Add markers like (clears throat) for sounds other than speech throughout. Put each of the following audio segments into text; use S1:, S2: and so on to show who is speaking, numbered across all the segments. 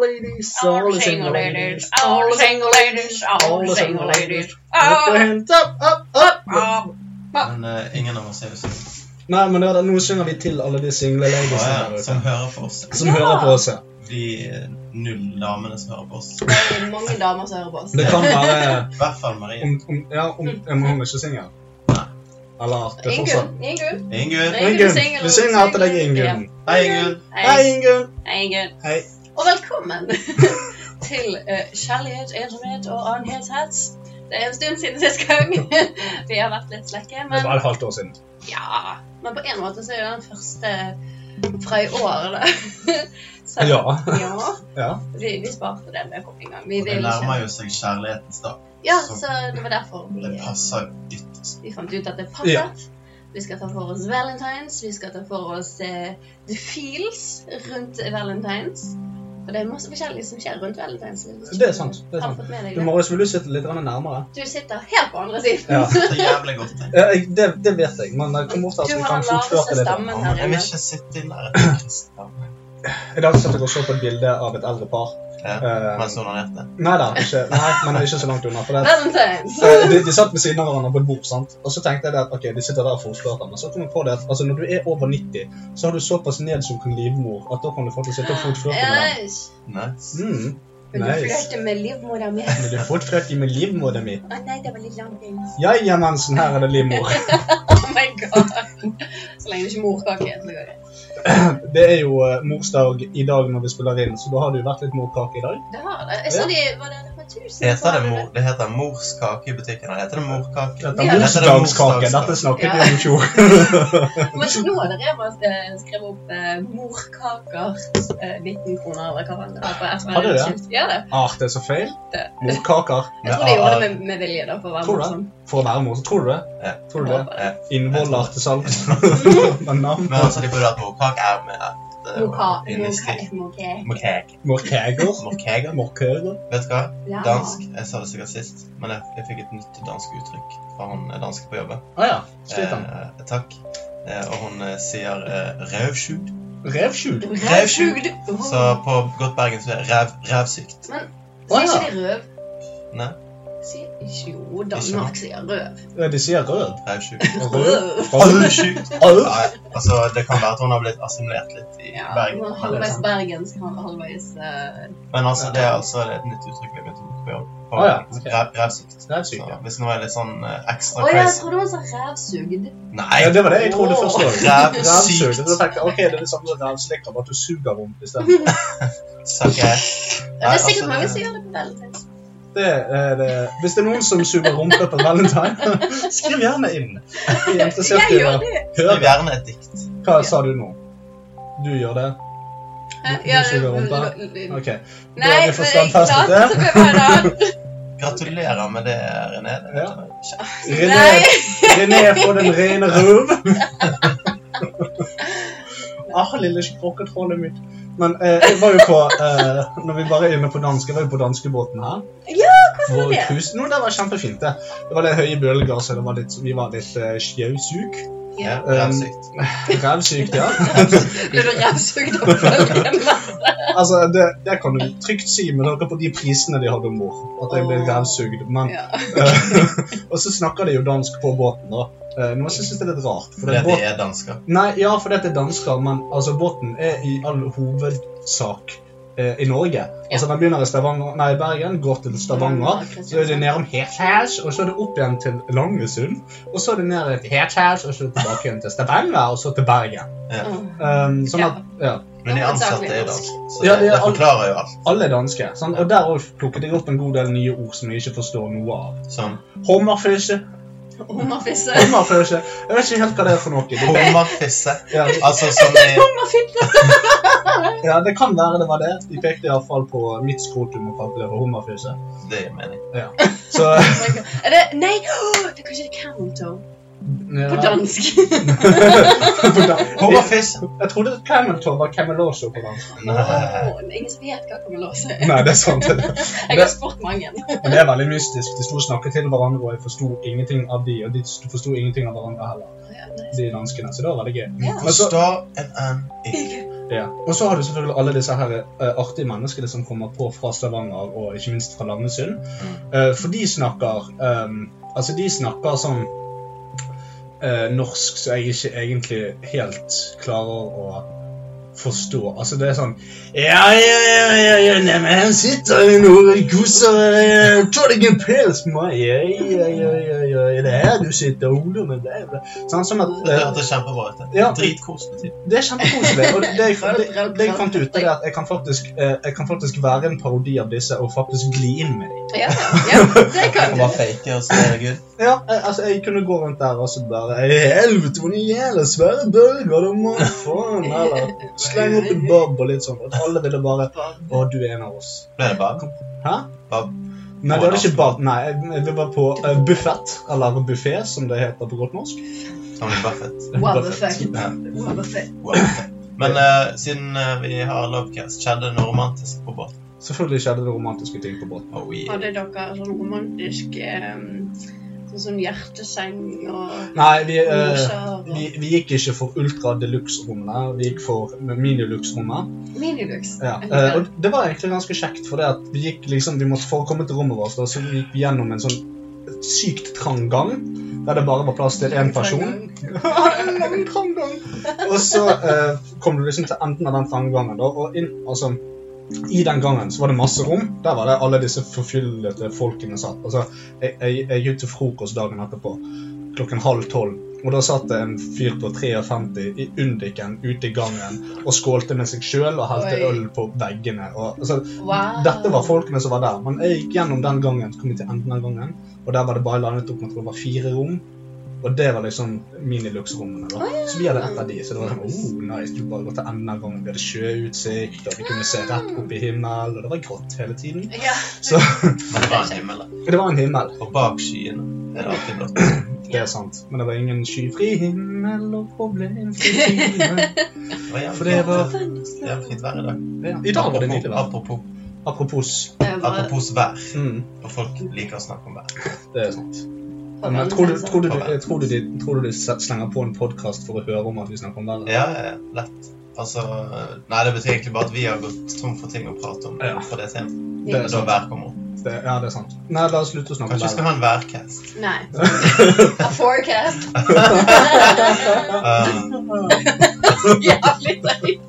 S1: ladies, all the single ladies, all the single
S2: ladies,
S1: all the single ladies. Lift your
S2: All
S1: hands up, up, up!
S2: up.
S3: Men eh, ingen av oss er jo single.
S1: Nei, men det er det, nå synger vi til alle de single
S3: Å
S1: ladiesene
S3: ja,
S1: der
S3: Som
S1: ute.
S3: hører på oss.
S1: Som
S2: Ja.
S1: hører på oss her.
S3: De eh, null damene som hører på oss.
S2: Det er mange damer som hører på oss.
S1: Det kan være (laughs)
S3: I hvert fall Marie.
S1: om, om, ja, om, om hun ikke synger.
S3: Nei.
S1: Eller at det fortsatt
S2: Ingunn. Ingunn.
S3: Ingunn.
S2: Nei.
S1: Ingunn,
S2: Ingunn, du synger,
S1: vi
S2: du
S1: synger til deg,
S2: synger.
S1: Ingunn.
S3: Hei, Ingunn.
S1: Hei, Ingunn.
S2: Hei, Ingunn.
S1: Hei.
S2: Og velkommen (laughs) til eh, Kjærlighet, ensomhet og annenhetshets. Det er en stund siden sist gang. (laughs) Vi har vært litt slekke,
S1: Det
S2: men
S1: var et halvt år siden.
S2: ja. Men på en måte så er det den første fra i år, da. (laughs) Så-
S1: Ja.
S2: ja.
S1: Ja.
S2: Vi, vi sparte det med en gang. Vi
S3: Og Det
S2: vil ikke.
S3: nærmer jo seg kjærlighetens dag.
S2: Ja,
S3: Så-
S2: så det var derfor
S3: Det
S2: vi,
S3: passer jo ytterst.
S2: vi fant ut at det
S1: Ja.
S2: passet. Vi skal ta for oss valentines, vi skal ta for oss eh, the feels rundt valentines. For det er masse forskjellig som skjer rundt valentines.
S1: Det er sant. Det er
S2: Har du
S1: sant.
S2: fått med deg
S1: Du,
S2: det?
S1: Marius, vil du sitte litt grann nærmere?
S2: Du sitter helt på andre siden.
S1: Ja.
S3: Det er jævlig godt. det.
S1: Ja, jeg- det, det vet jeg, men det kommer ofte at
S2: Du
S1: vi
S2: har
S1: kan
S2: den laveste
S1: fotføre litt.
S3: Ja,
S2: stammen
S3: men
S2: her
S3: Jeg vil
S2: inne.
S3: ikke sitte i nærheten.
S1: I dag satt jeg og så på et bilde av et eldre par.
S3: Ja,
S1: Eh,
S3: Mens hun onanerte.
S1: nei da, ikke, nei, men ikke så langt unna. For det,
S2: Valentines!
S1: eh, de, de satt ved siden av hverandre på et bord, sant? og så tenkte jeg det at ok, de sitter der og fotflørter. Men så kom jeg på det at altså, når du er over 90, så har du såpass nedsunken livmor at da kan du faktisk sitte og fotflørte med dem.
S2: Æsj!
S3: Nice.
S1: Mm.
S2: Vil du
S1: Nice.
S2: flørte med livmora
S1: (laughs)
S2: mi?
S1: Vil du fotflørte med livmoren min?
S2: Å nei, det var litt langt inn.
S1: Ja, ja, mensen, her er det livmor.
S2: Oh my god! (laughs) Så lenge det ikke er morkake, så går det.
S1: Det er jo eh, morsdag i dag når vi spiller inn, så da har det jo vært litt morkake i dag.
S2: Det har det. Jeg så de var der for tusen.
S3: Heter det, mor, det heter morskake i butikken. eller Heter det morkake?
S1: Dette
S2: Ja.
S1: er morsdagskake. Dette snakket vi om i fjor.
S2: Men nå hadde Rema eh, skrevet opp eh, morkaker eh, 19 kroner eller hva faen det var. på SML.
S1: Hadde de
S2: Ja, det.
S1: Ah, det er så feil.
S2: Det.
S1: Morkaker
S2: Jeg tror de gjorde det med, med vilje da, for å være
S1: Tror du det?
S2: morsom.
S1: for å være mor. Tror du det?
S3: Ja.
S1: Tror du det? Innvoller til
S3: (laughs)
S1: salg. Men navn
S3: Men altså, de burde hatt morkake her med eh, innestilt.
S2: Morkake.
S3: Morkake.
S1: Morkager.
S3: Morkake.
S1: Morkager.
S3: Vet du hva?
S2: Ja.
S3: Dansk.
S1: Ah.
S3: Jeg sa det sikkert sist, men jeg, jeg fikk et nytt dansk uttrykk fra hun eh, danske på jobben.
S1: Ah ja. Slit han.
S3: Eh, takk. Eh, og hun eh, sier eh, rævsjukt.
S1: Revskjul.
S3: Revsjukt.
S2: Revsjukt.
S3: Så på godt bergensk er det ræv, rævsykt.
S2: Sier ikke de røv?
S3: Nei,
S2: Sier ikke jo, Danmark sier røv.
S1: Ja, De sier rød.
S3: rævsjukt.
S1: Rød. (laughs)
S3: Rævsjukt.
S1: Rød.
S3: Nei, altså, det kan være at hun har blitt assimilert litt i
S2: Ja,
S3: Bergen.
S2: noen
S3: Men,
S2: halvveis bergensk, han halvveis eh,
S3: men altså, det er altså et nytt uttrykk vi har begynt å bruke på jobb.
S1: Å ja, ok.
S3: Ræv- Rævsykt.
S1: Det er
S3: Så,
S1: sykt, ja.
S3: hvis noe er litt sånn eh, ekstra
S2: Å ja, jeg
S3: crazy
S2: trodde han sa rævsugd.
S3: Nei!
S1: Ja, det var det jeg trodde først òg.
S3: Rævsykt.
S1: Revsjul. Ok, det er det samme som revslikker, bare at du suger vondt isteden.
S3: Suck ass.
S2: Det
S3: Nei,
S2: er sikkert
S3: altså,
S2: mange
S3: det-
S2: som gjør det på Valentine's.
S1: Det er det. Hvis det er noen som suger rumpe på valentine, (laughs) skriv gjerne inn. Vi er interessert i å
S2: Jeg gjør det!
S3: Skriv
S1: høre.
S3: gjerne et dikt.
S1: Hva sa du nå? Du gjør det?
S2: Hæ?
S1: Du suger rumpa?
S2: l- l-
S1: Ok. Da er
S2: Nei, men
S1: det
S2: jeg
S1: forstandfestet, det.
S2: klarte ikke
S1: (laughs)
S2: det var da.
S3: Gratulerer med det, René. Det
S1: Ja.
S3: vet jeg ikke.
S1: René, René får den rene røv. ah, lille skrokketrollet mitt. Men eh, jeg var jo på eh, Når vi bare er inne på danske, jeg var jo på danskebåten her.
S2: Ja,
S1: Hvor
S2: var det?
S1: cruise- no, det var kjempefint, det. Det var litt høye bølger, så det var litt, vi var litt eh, sjøsuk.
S3: Ja,
S1: Um,
S3: rævsykt.
S1: Rævsykt, ja.
S2: Ble du rævsugd av bølgen?
S1: Altså, det, det kan du trygt si med dere på de prisene de hadde om bord. At jeg ble
S2: Åh.
S1: rævsugd. Men
S2: Ja.
S1: eh, (laughs) Og så snakker de jo dansk på båten, da. Eh, Noe som jeg synes det er litt rart. For
S3: Fordi
S1: det
S3: at
S1: er båt
S3: de er dansker.
S1: Nei, ja, for dette er dansker, men altså, båten er i all hovedsak eh, i Norge. Altså, den begynner i Stavanger, nei, Bergen, går til
S2: Mm.
S1: Stavanger, så er det ned om Hertals, og så er det opp igjen til Langesund, og så er det ned til Hertals, og så tilbake igjen til Stavanger, og så til Bergen.
S3: Ja.
S1: Um, sånn at, ja,
S3: Mm. Men de
S2: Ja,
S3: ansatte er
S2: hovedsakelig
S3: danske, så
S1: Ja,
S3: det,
S1: ja,
S3: det
S1: alt-
S3: forklarer jo alt.
S1: alle er danske, sant? og der også plukket jeg opp en god del nye ord som jeg ikke forstår noe av. (laughs)
S3: Som
S1: Hommerføse,
S2: Hummerfisse.
S1: hommerføse, jeg vet ikke helt hva det er for noe. Det-
S3: hummerfisse.
S1: Ja,
S3: Altså som i
S2: Hummerfitte.
S1: ja, det kan være det var det. De pekte i hvert fall på mitt skrotum og kalte det for hommerføse.
S3: Det er mening.
S1: Så...
S2: Er det Nei, åh, det er kanskje Camto
S1: Ja.
S2: på dansk.
S1: (laughs) På dan-
S3: Hummerfisse!
S1: Jeg trodde at Camel Toe var Camelosho på dansk. Altså-
S3: Nei.
S2: Åh, Ingen som vet hva kommer låse.
S1: Nei, det er
S2: (laughs)
S1: sant.
S2: Jeg har spurt mange.
S1: Men det er veldig mystisk. De sto og snakket til hverandre, og jeg forsto ingenting av de, og de forsto ingenting av hverandre heller, de danskene. Så det var veldig gøy.
S2: Ja.
S1: Men så,
S3: Forstår en and ikke.
S1: Ja. Og så har du selvfølgelig alle disse her eh, artige menneskene som kommer på fra Stavanger og ikke minst fra Langesund. Eh, for de snakker ehm, Altså, de snakker sånn eh, norsk som jeg ikke egentlig helt klarer å forstå. Altså, det er sånn Ja, ja, ja, ja, ja nei, men her sitter vi nå og koser eh, Tar deg en pils med meg. Ja, ja, ja, ja, ja, ja, det er her du sitter, ungdommen. Det er det. Sånn som at
S3: Det
S1: eh,
S3: hørtes kjempebra ut. det.
S1: Ja.
S3: Dritkoselig. tid.
S1: det er kjempekoselig. Og det, jeg-
S2: Prøv,
S1: det,
S2: prøv,
S1: det jeg
S2: prøv.
S1: fant ut, det er at jeg kan, faktisk, eh, jeg kan faktisk være en parodi av disse og faktisk gli inn med dem.
S2: Ja,
S1: (laughs)
S2: ja, det kan
S3: Det
S2: du.
S3: var fake, og så er det good.
S1: Ja, jeg, altså, jeg kunne gå rundt der og så bare «Ei, Helvete, hvor jævla svære bølger, da må faen Eller sleng opp en bob og litt sånn. At alle ville bare Å, du er en av oss.
S3: Ble det bab?
S1: Hæ?
S3: Bab.
S1: Nei, det var ikke bad. Nei, jeg- vi var på eh, buffett, eller buffé, som det heter på godt norsk.
S3: Som i Buffett.
S2: Wow, the fuck.
S3: Ja.
S2: Wow, the fuck.
S3: Wow. Men eh, siden eh, vi har lovecast, skjedde det noe romantisk på båten?
S1: Selvfølgelig skjedde det romantiske ting på båten.
S3: Oh, yeah.
S2: Hadde dere sånn romantisk ehm, sånn som hjerteseng og
S1: Nei, vi eh,
S2: morser og
S1: Vi, vi gikk ikke for ultra deluxe-rommet, vi gikk for minilux-rommet.
S2: Minilux.
S1: Ja. eh, og det var egentlig ganske kjekt, for det at vi gikk liksom, vi måtte for å komme til rommet vårt, og så gikk vi gjennom en sånn sykt trang gang, der det bare var plass til én person. (laughs) en lang trang gang! Og så eh, kom du liksom til enden av den trange gangen, da, og inn, altså, i den gangen så var det masse rom. Der var det alle disse forfyllete folkene satt. Altså, jeg, jeg, jeg gikk til frokost dagen etterpå, klokken halv tolv. Og da satt det en fyr på 53 i undiken ute i gangen og skålte med seg sjøl og helte
S2: Oi.
S1: øl på veggene. Og, altså,
S2: Wow.
S1: dette var folkene som var der, men jeg gikk gjennom den gangen, så kom jeg til enden av gangen, og der var det bare landet opp med at det var fire rom, og det var liksom minilux-rommene da. Så vi hadde et av de, så det var sånn, oh, nice, du bare går til enden av gangen, vi hadde sjøutsikt, og vi kunne se rett opp i himmel, og det var grått hele tiden.
S2: Ja.
S1: Så
S3: Men det var en himmel, da.
S1: det var en himmel,
S3: Og bak skyene er det alltid blått.
S1: det er sant, men det var ingen skyfri himmel og problemfri himmel.
S3: Det var jævlig
S1: For det var-
S3: flott. Det er fint vær i dag.
S1: I dag var det nydelig vær.
S3: Apropos,
S1: Apropos,
S2: Det var-
S3: apropos vær.
S1: mm,
S3: Og folk liker å snakke om vær.
S1: det er sant.
S2: var
S1: Men tror du,
S2: veldig
S1: tror du, tror du, de, tror du de slenger på en podcast for å høre om at vi snakker om været?
S3: Ja, ja, ja, lett. Altså, nei, det betyr egentlig bare at vi har gått tom for ting å prate om
S1: Ja.
S3: på det temaet.
S1: Det er
S3: Men da vær kommer opp.
S1: Det, ja, det er sant. Nei, la oss slutte å snakke om
S3: Kanskje
S1: været.
S3: vi skal ha en værcast.
S2: Nei.
S1: (laughs)
S2: A forecast. (laughs)
S3: Uh,
S2: Jævlig teit.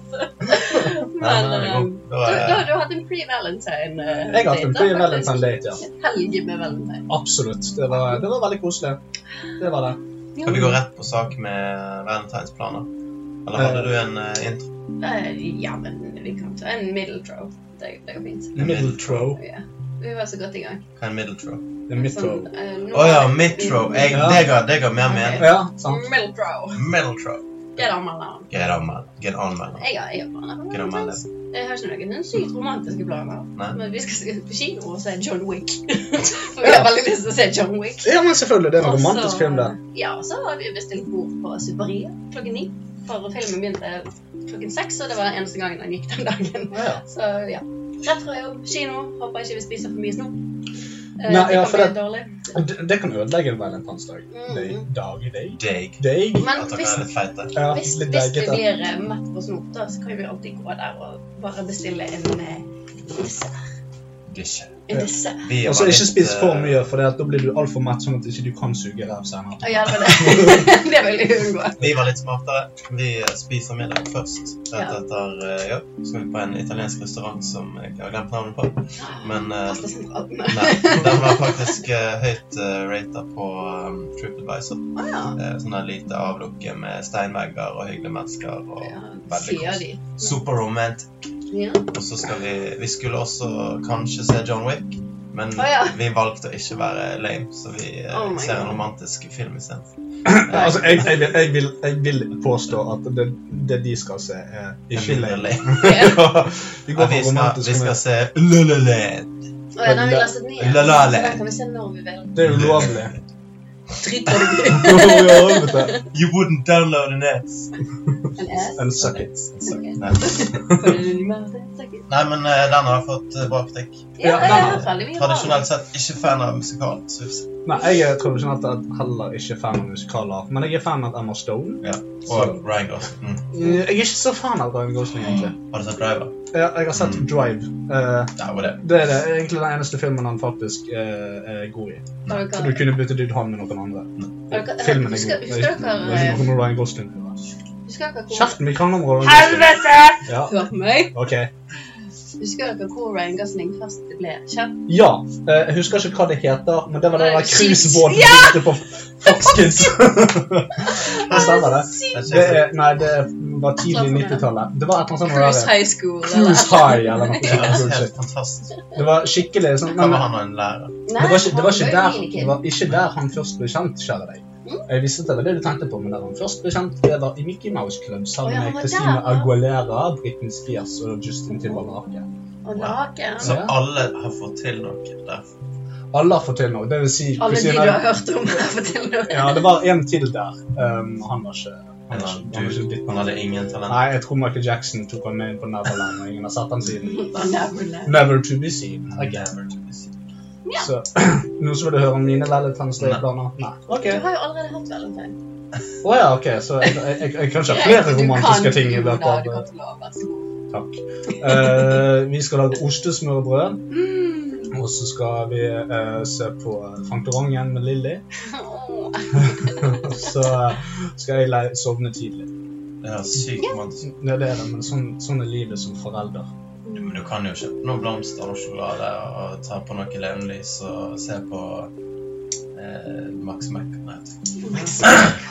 S2: Men
S3: nei, men den er
S2: eh,
S3: god. Da
S2: du, du,
S3: er
S2: du har hatt en pre-valentine. eh,
S1: (laughs) Jeg har hatt en
S2: date, da,
S1: pre-valentine
S2: faktisk.
S1: date, ja.
S2: En helg med valentine.
S1: Absolutt. Det var, det var veldig koselig. Det var det.
S3: Skal vi gå rett på sak med valentinsplaner? Eller hadde du en eh, intro?
S2: Eh, ja, men vi kan ta en middle throw. Det, det går fint.
S1: Middle throw.
S2: Ja. Vi var så godt i gang.
S3: Hva er en middle throw?
S1: Det er midrow.
S2: Sånn, eh, nå-
S3: Å ja, midthrow. Jeg,
S1: Ja.
S3: det, ga, det ga mer mening.
S1: Ja, sant.
S2: Middle throw.
S3: Middle throw.
S2: Get on my lawn.
S3: Get on, man. Get on, man.
S2: Jeg har jeg har planer.
S3: Get on, man.
S2: Jeg har ikke noen sykt romantiske planer.
S3: Nei.
S2: Men vi skal på kino og se John Wick. (laughs) For vi har veldig lyst til å se John Wick.
S1: Ja, men selvfølgelig. Det er en
S2: Og så-
S1: romantisk film, det.
S2: Ja, og så har vi bestilt bord på Superia klokken ni. For filmen begynte klokken seks, og det var den eneste gangen han gikk den dagen. (laughs)
S1: Ja.
S2: Så ja. Rett fra jobb, kino. Håper ikke vi spiser for mye snop. Eh,
S1: Nei, ja,
S2: det
S1: for
S2: kan
S1: det-
S2: bli dårlig. Mm.
S1: Det, det kan ødelegge en valentinsdag. Day. Dag i dag.
S3: Dig.
S1: Dag.
S2: Men
S3: At dere
S2: hvis,
S3: er litt feite.
S1: Ja,
S2: hvis,
S1: litt
S2: hvis vi
S1: daggete.
S2: blir eh, mett på snop, da, så kan vi alltid gå der og bare bestille en eh, dessert.
S3: Ikke.
S2: En
S1: Ja.
S2: dessert.
S3: Vi
S1: Og så Altså,
S3: var
S1: ikke
S3: litt,
S1: spis for
S3: eh,
S1: mye, for det at da blir du altfor mett, sånn at ikke du kan suge ræv senere.
S2: Å, ja, det (laughs) var det. det vil jeg unngå.
S3: Vi var litt smartere. Vi eh, spiser middag først. Rett
S2: Ja.
S3: etter eh, jobb så skal vi på en italiensk restaurant som jeg har glemt navnet på. Men eh,
S2: Pasta sentralen.
S3: nei, den var faktisk eh, høyt uh, rata på um, TripAdvisor.
S2: Å ja.
S3: Eh, sånn der lite avlukke med steinvegger og hyggelige mennesker. og
S2: ja.
S3: Veldig
S2: Sier
S3: kos.
S2: de.
S3: Super romantic.
S2: Ja.
S3: Og så skal vi Vi skulle også kanskje se John Wick, men
S2: Å, ja.
S3: vi valgte å ikke være lame, så vi eh,
S2: Oh my
S3: ser
S2: God.
S3: en romantisk film isteden.
S1: Altså, jeg, jeg, vil, jeg, vil, jeg vil påstå at det, det de skal se, er ikke
S3: Mindre
S1: lame.
S3: lame.
S1: Vi går
S3: Ja,
S1: for
S3: vi, skal, vi
S1: romantisk
S3: skal
S1: komedie.
S3: se Lululed.
S2: Å ja, den har vi lastet ned.
S3: La
S2: Så
S3: La Land.
S2: den kan vi se når vi vil.
S1: Det er ulovlig.
S2: Driter du
S1: (laughs)
S2: i
S1: Ja, helvete.
S3: You wouldn't download an ass.
S2: en ass?
S1: And suck it.
S2: Ok.
S3: Nei.
S2: Kan du mer til? Takk.
S3: Nei, men eh, den har jeg fått eh, bra kritikk.
S2: Ja,
S1: Ja,
S2: jeg
S1: den-
S2: er i hvert fall mye bra.
S3: Tradisjonelt sett ikke fan av musikal. Så vi-
S1: Nei, jeg er tradisjonelt sett heller ikke fan av musikaler, men jeg er fan av Emma Stone.
S3: og Ryan Gosling. Mm.
S1: Jeg er ikke så fan av Ryan Gosling, egentlig.
S3: Har du sett Driver?
S1: Jeg, jeg har sett
S3: Mm.
S1: Drive. Eh,
S3: Ja, det var det.
S1: det er det, egentlig den eneste filmen han faktisk eh, er god i.
S2: Har
S1: For du
S2: dere-
S1: kunne byttet ut han med noen andre.
S2: har dere-
S1: Filmen er god.
S2: husker-
S1: Det er
S2: Husker
S1: ikke- det er
S2: dere eh,
S1: ikke noe med Ryan Gosling.
S2: Husker dere hvor
S1: Kjeften, vi krangler om Ryan Gosling. Ja,
S2: Hørte meg?
S1: ok.
S2: Husker dere hvor Ryan Gosling først ble kjent?
S1: Ja, eh, jeg husker ikke hva det heter, men det var den der cruisebåten
S2: Ja!
S1: vi brukte på
S2: (laughs)
S1: Foxkids. det stemmer, det.
S3: Jeg
S1: det
S3: synes-
S1: er, nei, det var tidlig 90-tallet. Det Sånn var et eller annet
S2: Sånn, Cruise
S1: sånt der
S2: High School.
S1: Cruise High eller noe
S3: (laughs) Ja,
S1: sånt. bullshit.
S3: helt fantastisk.
S1: Det var skikkelig sånn
S3: Kan
S1: men,
S3: være han og en lærer.
S1: det, var ikke, det, var ikke der, det var ikke der han først ble kjent, kjære deg.
S2: Mm.
S1: Jeg visste at det var det du tenkte på, men der han først ble kjent, det var i Mickey Mouse Club
S2: Å, ja,
S1: sammen
S2: han
S1: med
S2: var
S1: Christina
S2: der, ja.
S1: Aguilera, Britney Spears og Justin Timberlake.
S2: Og naken.
S3: Så alle har fått til noe der.
S1: Alle har fått til noe. Det vil si
S2: Alle de
S1: Christina-
S2: du har hørt om. (laughs) Fortell noe.
S1: Ja, det var en til der. Um, han var ikke Han var ikke, han var ikke
S3: Du,
S1: ditt
S3: han hadde ingen talent.
S1: Nei, jeg tror Michael Jackson tok han med inn på Neverland, og ingen har sett han siden.
S2: Neverland.
S1: Never to be seen.
S3: Han
S1: Again.
S3: gaver til musikk.
S2: Ja.
S1: Så (clears throat) noen som vil høre om mine lærlighetstjenesteplaner? Nei. OK.
S2: Du har jo allerede hatt valentine.
S1: Å ja, ok, så jeg, jeg, jeg, jeg kan ikke ha (laughs) flere romantiske ting i løpet
S2: Du kan
S1: av
S2: få lov, vær så god.
S1: Takk. Eh, vi skal lage ostesmørbrød,
S2: Mm.
S1: og så skal vi eh, se på Fantorangen med Lilly.
S2: (laughs) Åh.
S1: Og så skal jeg le- sovne tidlig.
S3: Det er sykt romantisk.
S1: Det er det, men sånn, sånn er livet som forelder.
S3: Men du kan jo kjøpe noen blomster og sjokolade og ta på noe levenlys og se på eh, Max Mac. Nei,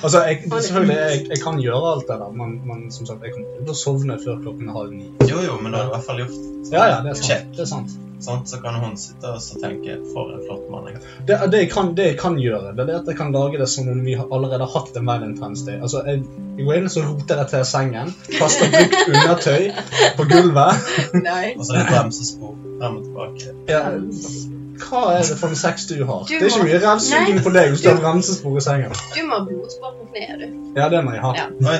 S1: Altså, jeg, selvfølgelig, jeg, jeg kan gjøre alt det der, men, men som sagt, jeg kommer til å sovne før klokken er halv ni.
S3: Jo, jo, men da har du i hvert fall gjort det.
S1: Ja, ja, det er
S3: Check,
S1: sant. Det, er sant.
S3: sant? Så kan hun sitte og så tenke For en flott mann. jeg har.
S1: det, det, jeg, kan, det jeg kan gjøre, det er det at jeg kan lage det som om vi har allerede har hatt en Valentine's Day. Altså, jeg, jeg går inn, så roter jeg til sengen, kaster brukt undertøy på gulvet.
S2: Nei.
S3: Og så litt bremsespor frem og tilbake.
S1: Ja, hva er det for en sex du har?
S2: Du
S1: det er ikke mye revsuging på deg hvis du har bremsespor i sengen.
S2: Du må ha blodspor på kneet, du.
S1: Ja, det må jeg ha.
S2: Ja.
S3: Oi,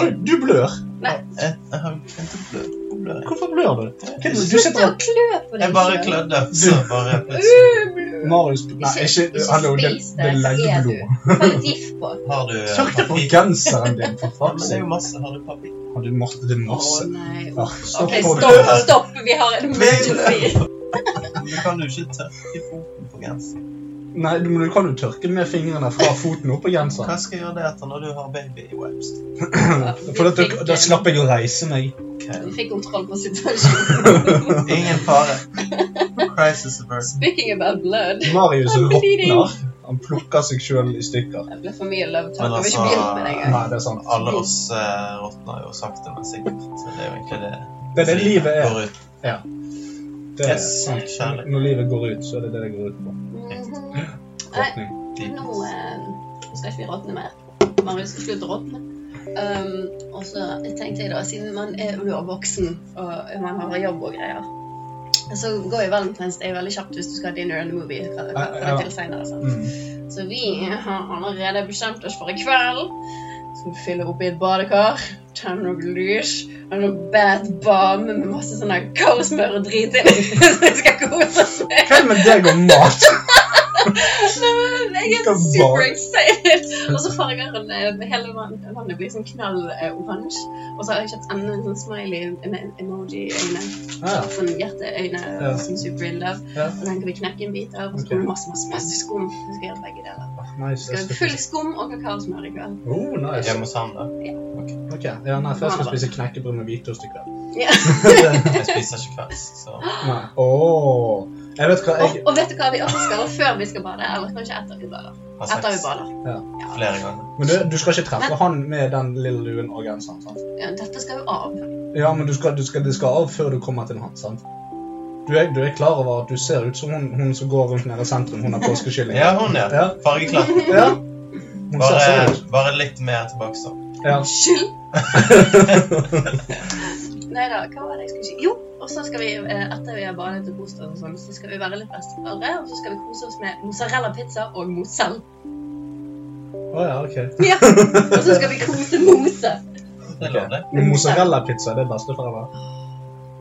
S1: Oi, du blør.
S2: Nei.
S3: jeg, jeg har begynt å blø. Hvor blør jeg?
S1: Hvorfor blør du? Hva er det Du
S2: Slutt å
S1: sitter og
S2: klø på deg
S3: Jeg bare
S2: selv.
S3: klødde, så bare plutselig
S2: Øh, blod.
S1: Marius Nei, ikke Hallo, det
S2: spis
S1: det er
S2: ser du.
S1: leggblod.
S2: Ta litt gift på.
S3: Har du eh,
S1: Sørg deg for
S3: papir?
S1: genseren din, for
S3: Ja,
S1: faen
S3: men det er
S1: seg.
S3: jo masse. Har du papir?
S1: Har du masse Det er
S2: Å
S1: masse.
S2: nei.
S1: Ja,
S2: Ok,
S1: stopp på
S2: stopp,
S1: det.
S2: stopp. Vi har en motorbit.
S3: Du kan jo ikke tørke foten på genseren.
S1: Nei, du, men du kan jo tørke med fingrene fra foten opp på
S3: Hva
S1: genseren.
S3: skal jeg gjøre det etter når du har baby i webs?
S1: (laughs) For at du, da slapp jeg å reise meg.
S2: Vi fikk kontroll på situasjonen.
S3: Ingen fare. Crisis averse.
S2: Speaking about blood.
S1: Marius
S2: I'm bleeding.
S1: råtner. Han plukker seg sjøl i stykker.
S2: Det ble for mye love talk.
S3: Men
S2: Jeg vil
S3: altså-
S2: ikke begynt med det
S3: (laughs)
S2: engang.
S1: Nei, det er sant.
S3: Alle oss eh, råtner jo sakte, men sikkert. Så det er jo egentlig det
S1: Det er det livet er.
S3: går ut.
S1: Det er
S3: Yes,
S1: sant.
S3: kjærlighet.
S1: Når livet går ut, så er det det det går ut på.
S2: Mhm.
S1: Råtning.
S3: i.
S2: Nå eh, skal ikke vi råtne mer. Marius skal slutte å råtne. Um, og så tenkte jeg da, siden man er jo da voksen, og man har jobb og greier, så går jo Valentine's Day veldig kjapt hvis du skal ha dinner and a movie. Hva, hva, hva altså?
S1: Ja.
S2: til senere, sant?
S1: Mm.
S2: Så vi har allerede bestemt oss for i kveld. Skal vi fylle opp i et badekar, tenne noe lys, ha noe bad bomb med masse sånn her kavsmør og drit i. (laughs) Så vi skal kose oss med.
S1: Hva er det med deg og mat?
S2: Nei, men Jeg
S1: Skal
S2: er super
S1: bade.
S2: excited! Og så farger han eh, hele vann- vannet blir sånn knall eh, oransje. Og så har jeg kjøpt enda en sånn smiley en en emoji-øyne.
S1: Ja, ja.
S2: Sånn hjerteøyne
S1: Ah. Ja.
S2: og sånn super in love.
S1: Ja.
S2: Og den kan vi knekke en bit av, og så kommer det masse, masse, masse skum. Vi skal gjøre begge deler.
S1: Ah, Nice.
S2: Vi
S1: jeg
S2: skal
S1: skal-
S2: Full skum og kakaosmør i kveld.
S1: Oh, nice.
S3: Hjemme hos han, da.
S1: Ok, ja, nei, for jeg skal spise knekkebrød med hvitost i kveld.
S2: Ja.
S1: (laughs)
S3: Jeg spiser ikke kvelds, så
S1: Nei. Åh. Jeg vet hva,
S2: Og,
S1: jeg...
S2: og vet du hva vi også skal gjøre før vi skal bade? Eller kanskje etter vi bader.
S3: har
S2: Etter vi
S3: sex
S2: bader.
S3: flere ganger.
S1: Men du, du skal ikke treffe han med den lille luen og genseren, sant?
S2: Ja, dette skal jo av.
S1: Ja, men du skal, du skal, det skal av før du kommer til han, sant? Du er, du er klar over at du ser ut som hun, hun som går rundt nede i sentrum, hun har påskekylling.
S3: Ja, hun, ja.
S1: Ja.
S3: Fargeklart.
S1: ja. Hun ser
S3: Bare,
S1: sånn ut.
S3: bare litt mer tilbake, så.
S1: Ja.
S2: Unnskyld! Nei da, hva var det jeg skulle si? Jo, og så skal vi, eh, etter vi har badet og kost oss og sånn, så skal vi være litt besteforeldre, og så skal vi kose oss med mozzarella-pizza og mozell.
S1: Å ja, ok.
S2: (laughs) Ja, og så skal vi kose mose.
S3: Det er lovlig.
S1: Men Mozzarella-pizza, det er besteforeldre.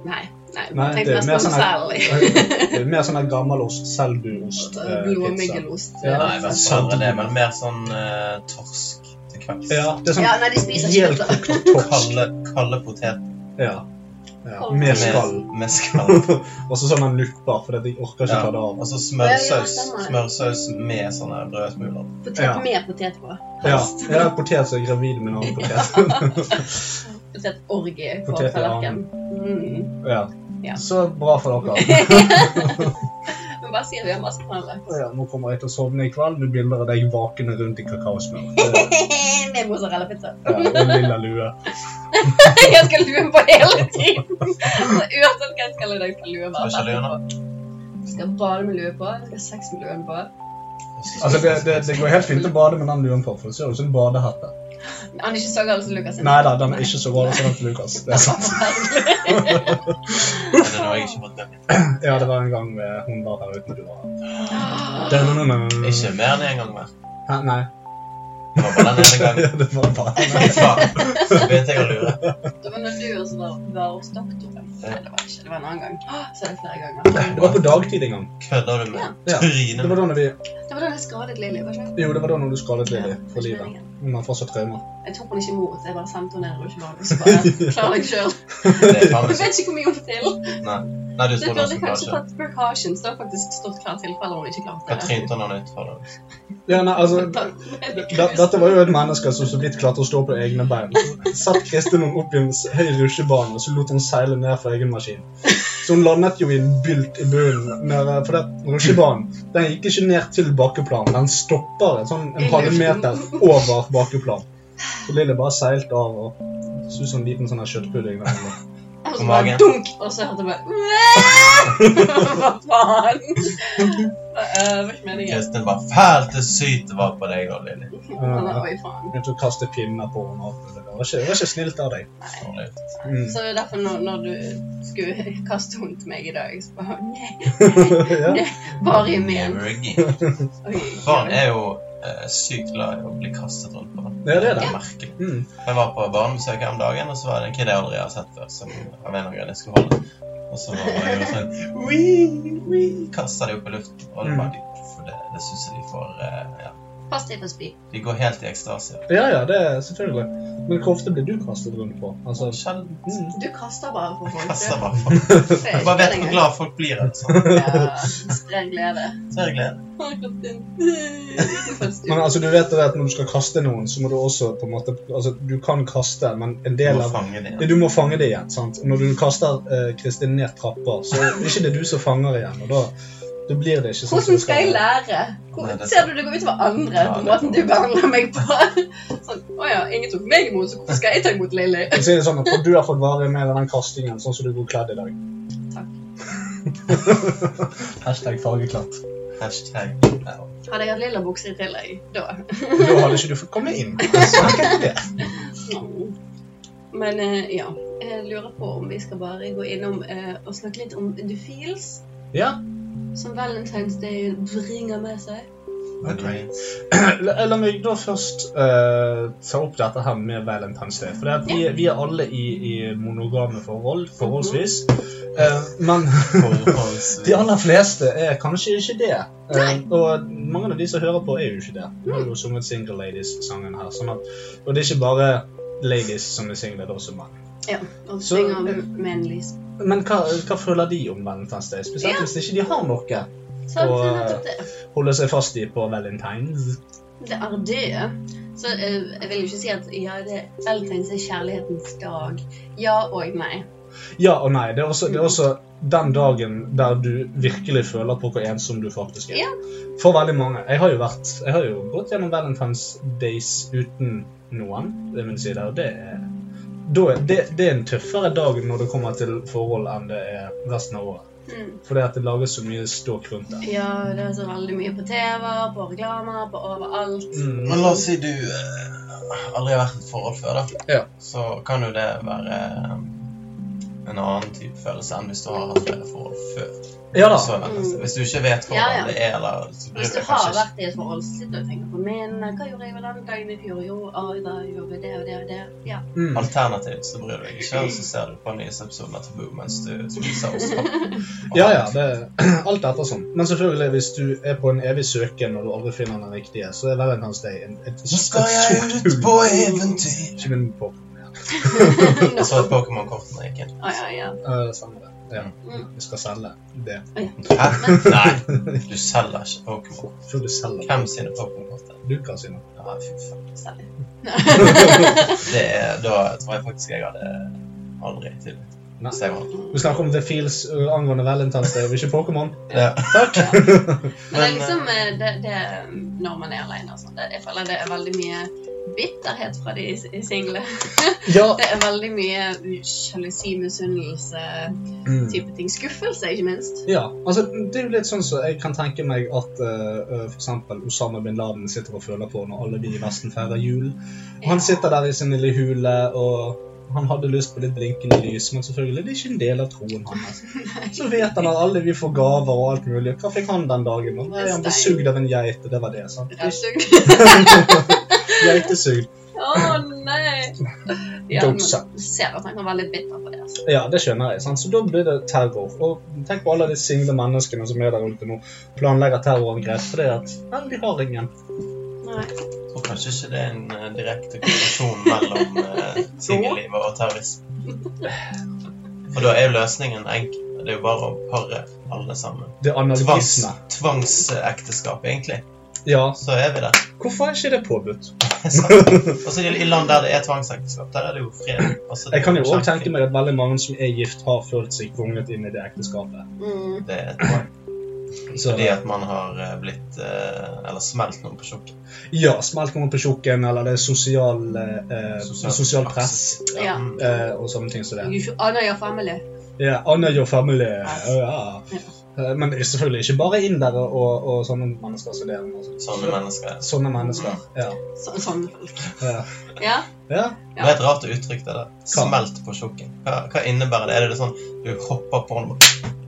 S2: Nei, nei,
S1: Nei,
S2: jeg
S1: det
S2: tenkte
S1: er
S2: mest
S1: mer
S2: på
S1: sånn her-
S2: mozell.
S1: Det er Mer sånn her gammel ost, selbuost. eh, pizza.
S2: Blåmyggelost.
S1: Ja.
S3: Nei, men
S1: sant.
S3: bare det, men mer sånn eh, torsk til kvelds.
S1: Ja, det er sånn
S2: Ja, nei, de spiser ikke
S1: helt
S2: pizza.
S1: kokt torsk.
S3: Kalde, kalde poteter
S1: Ja. ja.
S2: Kaldt.
S1: Med skall.
S3: med, med skall.
S1: (laughs) Og så sånne nupper, for jeg orker ikke
S3: Ja.
S1: ta det av.
S3: Og så
S2: Ja, ja,
S3: smørsaus,
S2: stemmer.
S3: smørsaus med sånne brødsmuler.
S2: Potet
S1: Ja.
S2: med potet på.
S1: Ja, jeg har potet som er gravid med en annen
S2: (laughs)
S1: potet.
S2: Potetorgie på
S1: Potet, ja.
S2: tallerkenen. Mm.
S1: Ja.
S2: Ja.
S1: Så bra for
S2: (laughs)
S1: dere.
S2: Men bare sier vi har masse planer.
S1: Ja, nå kommer jeg til å sovne i kveld med bilder av deg vakende rundt i kakaosmør. Det-
S2: (laughs) med mozzarella-pizza.
S1: Ja, og en lilla lue.
S2: (laughs) Jeg skal lue på hele tiden! Så uansett hva jeg skal i dag, skal lue
S3: Hva er
S2: være
S3: sjaluene?
S2: Jeg skal bade med lue på, jeg skal ha sex med luen på.
S1: Altså, det, det, det går helt fint å bade med den luen på, for det ser ut som en badehette.
S2: Han er ikke så gammel som Lukas. sin.
S1: Nei da, den er ikke så bra som den til Lukas.
S2: (laughs)
S1: Det er sant.
S3: Er det noe jeg ikke fått med?
S1: Ja, det var en gang eh, hun var her uten du var her.
S2: Ah,
S1: Da-na-na-na.
S3: Ikke mer enn en gang mer.
S1: Hæ, nei. (laughs)
S3: Det var bare den ene gangen.
S1: Ja, det var bare
S3: Faen, så begynte jeg å lure.
S2: Det var når du også var, var hos doktoren. Nei, det var ikke. Det var en annen gang. Ah, Så er det flere ganger.
S1: Det var på dagtid en gang.
S3: Kødder du med?
S1: Ja. Det
S3: Trynet
S1: var
S3: mitt.
S1: da når vi,
S2: Det var da jeg skadet Lilly. var det ikke?
S1: jo, det var da når du skadet
S2: Ja,
S1: Lilly
S2: det
S1: for
S2: er ikke
S1: livet.
S2: meningen.
S1: Hun har fortsatt traumer.
S2: Jeg tok henne ikke imot. Jeg bare sendte henne ned og ikke var så bare klar deg sjøl.
S1: (laughs)
S3: Det er faen
S2: Du
S3: ikke.
S2: vet ikke hvor mye hun får til.
S3: Nei, du
S2: Du
S3: trodde
S2: burde
S3: hun skulle
S2: kanskje
S3: kanskje.
S2: tatt precautions. Det har faktisk stått klart tilfelle hun ikke klarte
S3: Jeg trynte han ut for det.
S1: Ja, nei, altså, da-
S2: det.
S1: dette var jo et menneske som så vidt klarte å stå på egne bein. Så satt Kristin henne opp i en s- høy rusjebane, og så lot hun seile ned fra egen maskin. Så hun landet jo i en bylt i bunnen, nede- for det rusjebanen den gikk ikke ned til bakkeplan. Den stopper en sånn en halvmeter over bakkeplan. Så Lilly bare seilte av og så ut som en liten sånn her kjøttpudding. der inne.
S2: Og
S3: på
S2: så bare
S3: magen.
S2: dunk, og så hørte jeg bare Hva
S3: (laughs)
S2: faen? Det eh, var ikke meningen.
S3: Kristin var fælt til sykt det var på deg og Lilly.
S2: Men da, Oi, faen.
S1: Eh, Begynte å kaste pinner på henne. og alt. Det var ikke, det var ikke snilt av deg.
S3: Dårlig.
S2: (laughs)
S1: Mm.
S2: Så det er derfor når, når du skulle kaste henne til meg i dag, så bare Nei,
S1: ja.
S2: bare i men.
S3: Never again.
S2: Oi,
S3: Barn er jo eh, sykt glad i å bli kastet rundt på.
S1: Ja, det er det.
S3: merkelig.
S1: Mm.
S3: Jeg var på barnebesøk her om dagen, og så var det en kid jeg aldri har sett før, som av en eller annen grunn jeg skulle holde. Og så var det jo sånn «Wii, wii», Kastet de opp i luften. Og det
S1: Mm.
S3: var de, for det, det syns jeg de får eh, ja.
S2: Pass deg for spy.
S3: De går helt i ekstase.
S1: ja, ja, det er selvfølgelig. Men hvor ofte blir du kastet rundt på? Altså,
S3: Sjelden.
S1: mm.
S2: Du kaster bare på
S3: Jeg
S2: folk.
S3: kaster
S2: du.
S3: bare folk.
S2: Det er
S3: Jeg
S2: ikke
S3: bare vet hvor
S2: meningen.
S3: glad folk blir. Altså.
S2: Ja, Sprer glede.
S3: Så er jeg glede.
S2: Har jeg fått (laughs) en- Utenfor
S1: Men
S2: stuen.
S1: altså, du vet det at når du skal kaste noen, så må du også på en måte Altså, du kan kaste, men en
S3: Du
S1: del
S3: må
S1: av
S3: fange dem.
S1: Ja, du må fange det igjen. sant? Når du kaster eh, Kristin ned trapper, så er det ikke det du som fanger igjen. og da, da blir det ikke sånn som
S2: Hvordan
S1: det
S2: skal jeg
S1: være.
S2: lære?
S3: Nei, det
S2: Hvor,
S3: er
S2: ser du det går utover andre
S3: Ja,
S2: på
S3: det er
S2: måten du
S3: sant.
S2: behandler meg på? (laughs) Sånn, Å ja, ingen tok meg imot, så hvorfor skal jeg ta imot Lilly?
S1: Jeg sier det sånn at Du har fått vare med den kastingen sånn som du går kledd i dag. Hashtag fargeklatt.
S3: Hashtag. ja.
S2: Hadde jeg hatt lilla bukser i tillegg da?
S1: Da hadde ikke du fått komme inn. Så enkelt er det.
S2: Nå. Mm. Men eh, ja, jeg lurer på om vi skal bare gå innom eh, og snakke litt om the feels
S1: Ja.
S2: som Valentine's Day bringer med seg.
S3: The great.
S1: La, la meg da først eh, ta opp dette her med Valentine's Day. For det at vi, vi er alle i, i monogame forhold, forholdsvis. Eh, men
S3: Forholdsvis.
S1: (laughs) de aller fleste er kanskje ikke det. Eh,
S2: Nei. Mm.
S1: og mange av de som hører på, er jo ikke det. Vi har jo sunget Single Ladies-sangen her. Sånn at, og det er ikke bare ladies som er single, det er også menn.
S2: Ja, og
S1: Så-
S2: synger med en lys.
S1: Men hva, hva føler de om Valentine's Day? Spesielt
S2: Ja.
S1: hvis ikke de har noe
S2: Så
S1: Og,
S2: det er nettopp det.
S1: holde seg fast i på Valentine's.
S2: Det er det. Så eh, jeg vil jo ikke si at ja, det Valentine's er kjærlighetens dag. Ja og nei.
S1: Ja og nei. Det er også, det er også den dagen der du virkelig føler på hvor ensom du faktisk er.
S2: Ja.
S1: For veldig mange. Jeg har jo vært, jeg har jo gått gjennom Valentine's Days uten noen. Det vil si der, og det er, da er- det, det er en tøffere dag når det kommer til forhold enn det er resten av året.
S2: Mm.
S1: Fordi at det lages så mye ståk rundt det.
S2: Ja, det er så veldig mye på TV, på reklamer, på overalt.
S1: Mm.
S3: Men la oss si du eh, aldri har vært i et forhold før, da.
S1: Ja.
S3: Så kan jo det være eh, en annen type følelse enn hvis du har hatt flere forhold før.
S1: Ja da.
S3: Så, eh,
S2: Mm.
S3: hvis du ikke vet hvordan
S2: Ja, ja.
S3: det er, eller så bryr
S2: Hvis
S3: du
S2: du
S3: deg
S2: har
S3: kanskje ikke.
S2: vært i et forhold, så sitter du og tenker på men hva gjorde jeg vel den dagen i fjor? Jo, ah, da gjorde vi det og det og det. Ja.
S1: Mm.
S3: Alternativt så bryr du deg ikke, og så ser du på nyhetsepisoden av Taboo mens du spiser
S2: (laughs)
S3: ost.
S1: Ja, ja. Det, (clears throat) alt etter sånn. Men selvfølgelig, hvis du er på en evig søken og du aldri finner den riktige, så er verden hans deg en, et, et,
S3: Så skal jeg
S1: sort
S3: ut
S1: hull.
S3: på eventyr!
S1: Ikke min på.
S3: Jeg så at Pokémon-kortene gikk inn.
S2: Ah, ja, ja.
S1: Uh, samme det. Ja.
S2: Mm.
S1: Vi skal selge det.
S3: Hæ? Nei, du selger ikke Pokémon.
S1: Før du selger
S3: Hvem sine Pokémon-kort er det?
S1: du kan si noe.
S3: Ja, fy faen.
S2: Særlig.
S3: (laughs) Det er, da tror jeg faktisk jeg hadde aldri tillit.
S1: Nei.
S3: Så jeg var-
S1: Vi snakker om The Feels uh, angående Valentine's Day, og ikke Pokémon.
S3: Ja.
S1: Takk!
S2: Men det er
S3: Men,
S2: liksom eh, det, det er når man er alene og sånn. Det- Jeg føler det er veldig mye bitterhet fra de s- single.
S1: Ja.
S2: Det er veldig mye sjalusi, misunnelse,
S1: Mm.
S2: type ting. Skuffelse, ikke minst.
S1: Ja, altså det er jo litt sånn som jeg kan tenke meg at eh, eh, for eksempel Osama bin Laden sitter og føler på når alle vi i Vesten feirer jul. Og han sitter der i sin lille hule, og han hadde lyst på litt blinkende lys, men selvfølgelig, det er ikke en del av troen hans. Så vet han at alle vi får gaver og alt mulig. Hva fikk han den dagen? da? Nei, han ble sugd av en geit, og det var det. sant?
S2: Rævsugd.
S1: Geitesugd.
S2: Å nei! Ja,
S1: Don't
S2: men
S1: suck.
S2: du ser at han kan være litt bitter på det. altså.
S1: Ja, det skjønner jeg. sant? Så da blir det terror. Og tenk på alle de single menneskene som er der ute nå, planlegger terrorangrep fordi at Nei, de har ingen.
S2: Nei.
S3: Jeg tror kanskje ikke det er en eh, direkte korrelasjon mellom uh, singellivet og terrorisme. For da er jo løsningen enkel. Det er jo bare å pare alle sammen.
S1: Det er
S3: Tvangs,
S1: anarkisme.
S3: tvangsekteskap, egentlig.
S1: Ja,
S3: Så er vi der.
S1: hvorfor er ikke det påbudt?
S3: Og så i i land der det er tvangsekteskap, der er det jo fred. Altså, det
S1: Jeg kan jo
S3: er
S1: også
S3: kjempe-
S1: tenke meg at veldig mange som er gift, har følt seg tvunget inn i det ekteskapet.
S2: Mm.
S3: Det er et poeng.
S1: Så,
S3: Fordi at man har eh, blitt eh, Eller smelt noen på tjukken.
S1: ja, smelt noen på tjukken, eller det er sosial, eh, sosial, press
S2: Ja.
S3: Mm.
S1: eh, og sånne ting som det.
S2: You should honor your family.
S1: Ja, honor your family. Ja. Eh, Men selvfølgelig ikke bare indere og, og sånne mennesker som det. men altså,
S3: Sånne mennesker.
S1: Sånne mennesker. Ja.
S2: Så, sånn folk.
S1: Ja.
S2: Ja.
S1: ja.
S3: Det er et rart uttrykk, det der.
S1: Hva?
S3: Smelt på tjukken. Hva, hva innebærer det? Er det sånn du hopper på noe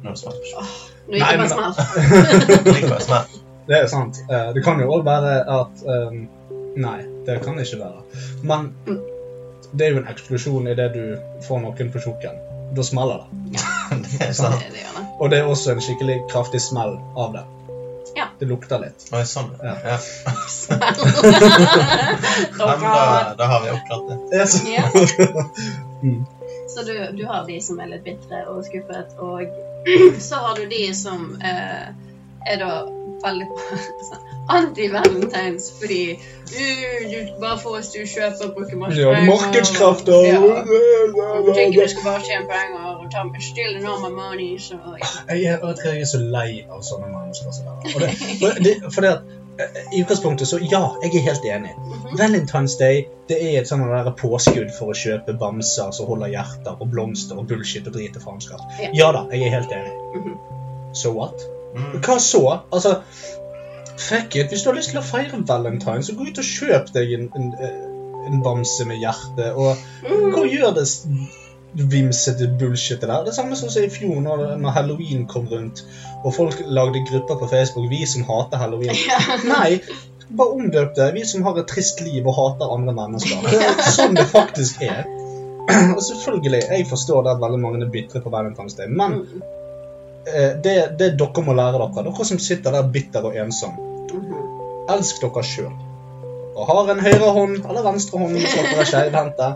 S3: når du smelter på tjukken?
S2: Nå
S1: Nei,
S2: gikk det
S1: men-
S2: bare sånn smelt.
S3: Likevel smelt. (laughs)
S1: Det er sant. Eh, Det kan jo òg være at ehm, Nei, det kan ikke være. Men
S2: Mm.
S1: det er jo en eksklusjon i det du får noen på tjukken. Da smeller det.
S3: Det er sånn. sant.
S2: Det, det
S1: (laughs)
S2: gjør det. (laughs)
S1: Og det er også en skikkelig kraftig smell av det.
S2: Ja.
S1: Det lukter litt.
S3: Oi, sånn.
S1: Ja.
S3: Ja.
S2: Smelt.
S3: Nei, men
S1: (laughs)
S3: da, da har vi oppklart det.
S1: Yes.
S2: Ja.
S1: Mm.
S2: Så du, du har de som er litt bitre og skuffet, og (clears throat) så har du de som eh, er da veldig (laughs) sånn anti-valentines fordi uh, du, bare få oss du kjøper Pokémon.
S1: (laughs) Ja, markedskrafter.
S2: Ja. Du tenker du
S1: Jeg
S2: skal bare tjene penger og ta med still enorme money, så
S1: (laughs)
S2: ja.
S1: er, vet du hva, jeg er så lei av sånne mennesker. som det er. Og det, for det, fordi at, eh, I utgangspunktet så ja, jeg er helt enig. Valentine's Day det er et sånn der påskudd for å kjøpe bamser som holder hjerter og blomster og bullshit og drit og faenskap.
S2: Ja.
S1: Ja da, jeg er helt enig.
S2: Mhm.
S1: So what?
S3: Mm.
S1: Hva så? Altså, fuck it. Hvis du har lyst til å feire valentine, så gå ut og kjøp deg en, en, eh, en bamse med hjerte. Og
S2: Mm-hmm. (laughs)
S1: hva gjør det s- vimsete bullshitet der? Det samme som i fjor når, når halloween kom rundt, og folk lagde grupper på Facebook, vi som hater halloween. Nei, bare omdøp det. Vi som har et trist liv og hater andre mennesker. Det er sånn det faktisk er. (clears throat) Og selvfølgelig, jeg forstår det at veldig mange er bitre på Valentine's Day, men
S2: Mhm.
S1: eh, det, det dere må lære dere, dere som sitter der bitter og ensom, Mm-hmm.
S2: Mhm.
S1: elsk dere sjøl. Og har en høyre hånd eller venstre hånd hvis dere er skeivhendte.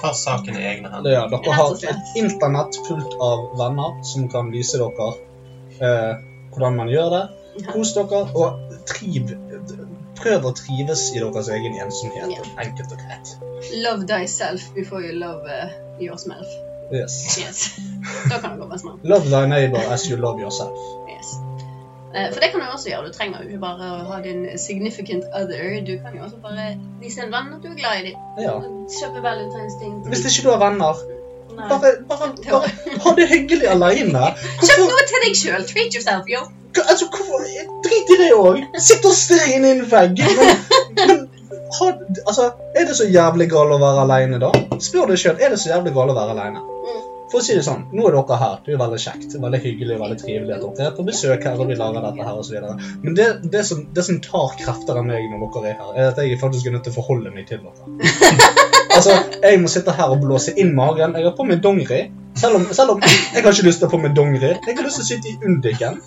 S3: Ta saken i egne hender.
S1: Det gjør Dere
S2: Rett og
S1: har
S2: slett.
S1: et internett fullt av venner som kan vise dere eh, hvordan man gjør det. Kos dere og triv. Prøv å trives i deres egen ensomhet.
S2: Ja.
S1: Enkelt og greit.
S2: Love thyself before you love uh, yourself.
S1: Yes. (laughs)
S2: Yes. Da kan du gå med smelt.
S1: Love thy neighbor as you love yourself.
S2: Yes. Eh, For det kan du også gjøre. Du trenger jo ikke bare å ha din significant other. Du kan jo også bare vise en venn at du er glad i dem.
S1: Ja.
S2: Kjøpe valentinsting.
S1: Hvis ikke du har venner,
S2: Kjøp
S1: bare, bare, bare ha det hyggelig aleine.
S2: (laughs)
S1: Hvorfor,
S2: noe til deg sjøl. Treat yourself, yo.
S1: altså, hvorfor, drit i det òg. Sitt og stirr inn i en vegg. Men, men ha, altså, er det så jævlig galt å være aleine, da? Spør deg sjøl. Er det så jævlig galt å være aleine? for å si det sånn, nå er dere her. Det er jo veldig kjekt. Veldig hyggelig veldig trivelig at dere er på besøk her og vi lager dette her og så videre. Men det, det, som, det som tar krefter av meg når dere er her, er at jeg faktisk er nødt til å forholde meg til dere. altså, Jeg må sitte her og blåse inn magen. Jeg har på meg dongeri. Selv om, selv om jeg har ikke lyst til å ha på meg dongeri. Jeg har lyst til å sitte i undiken.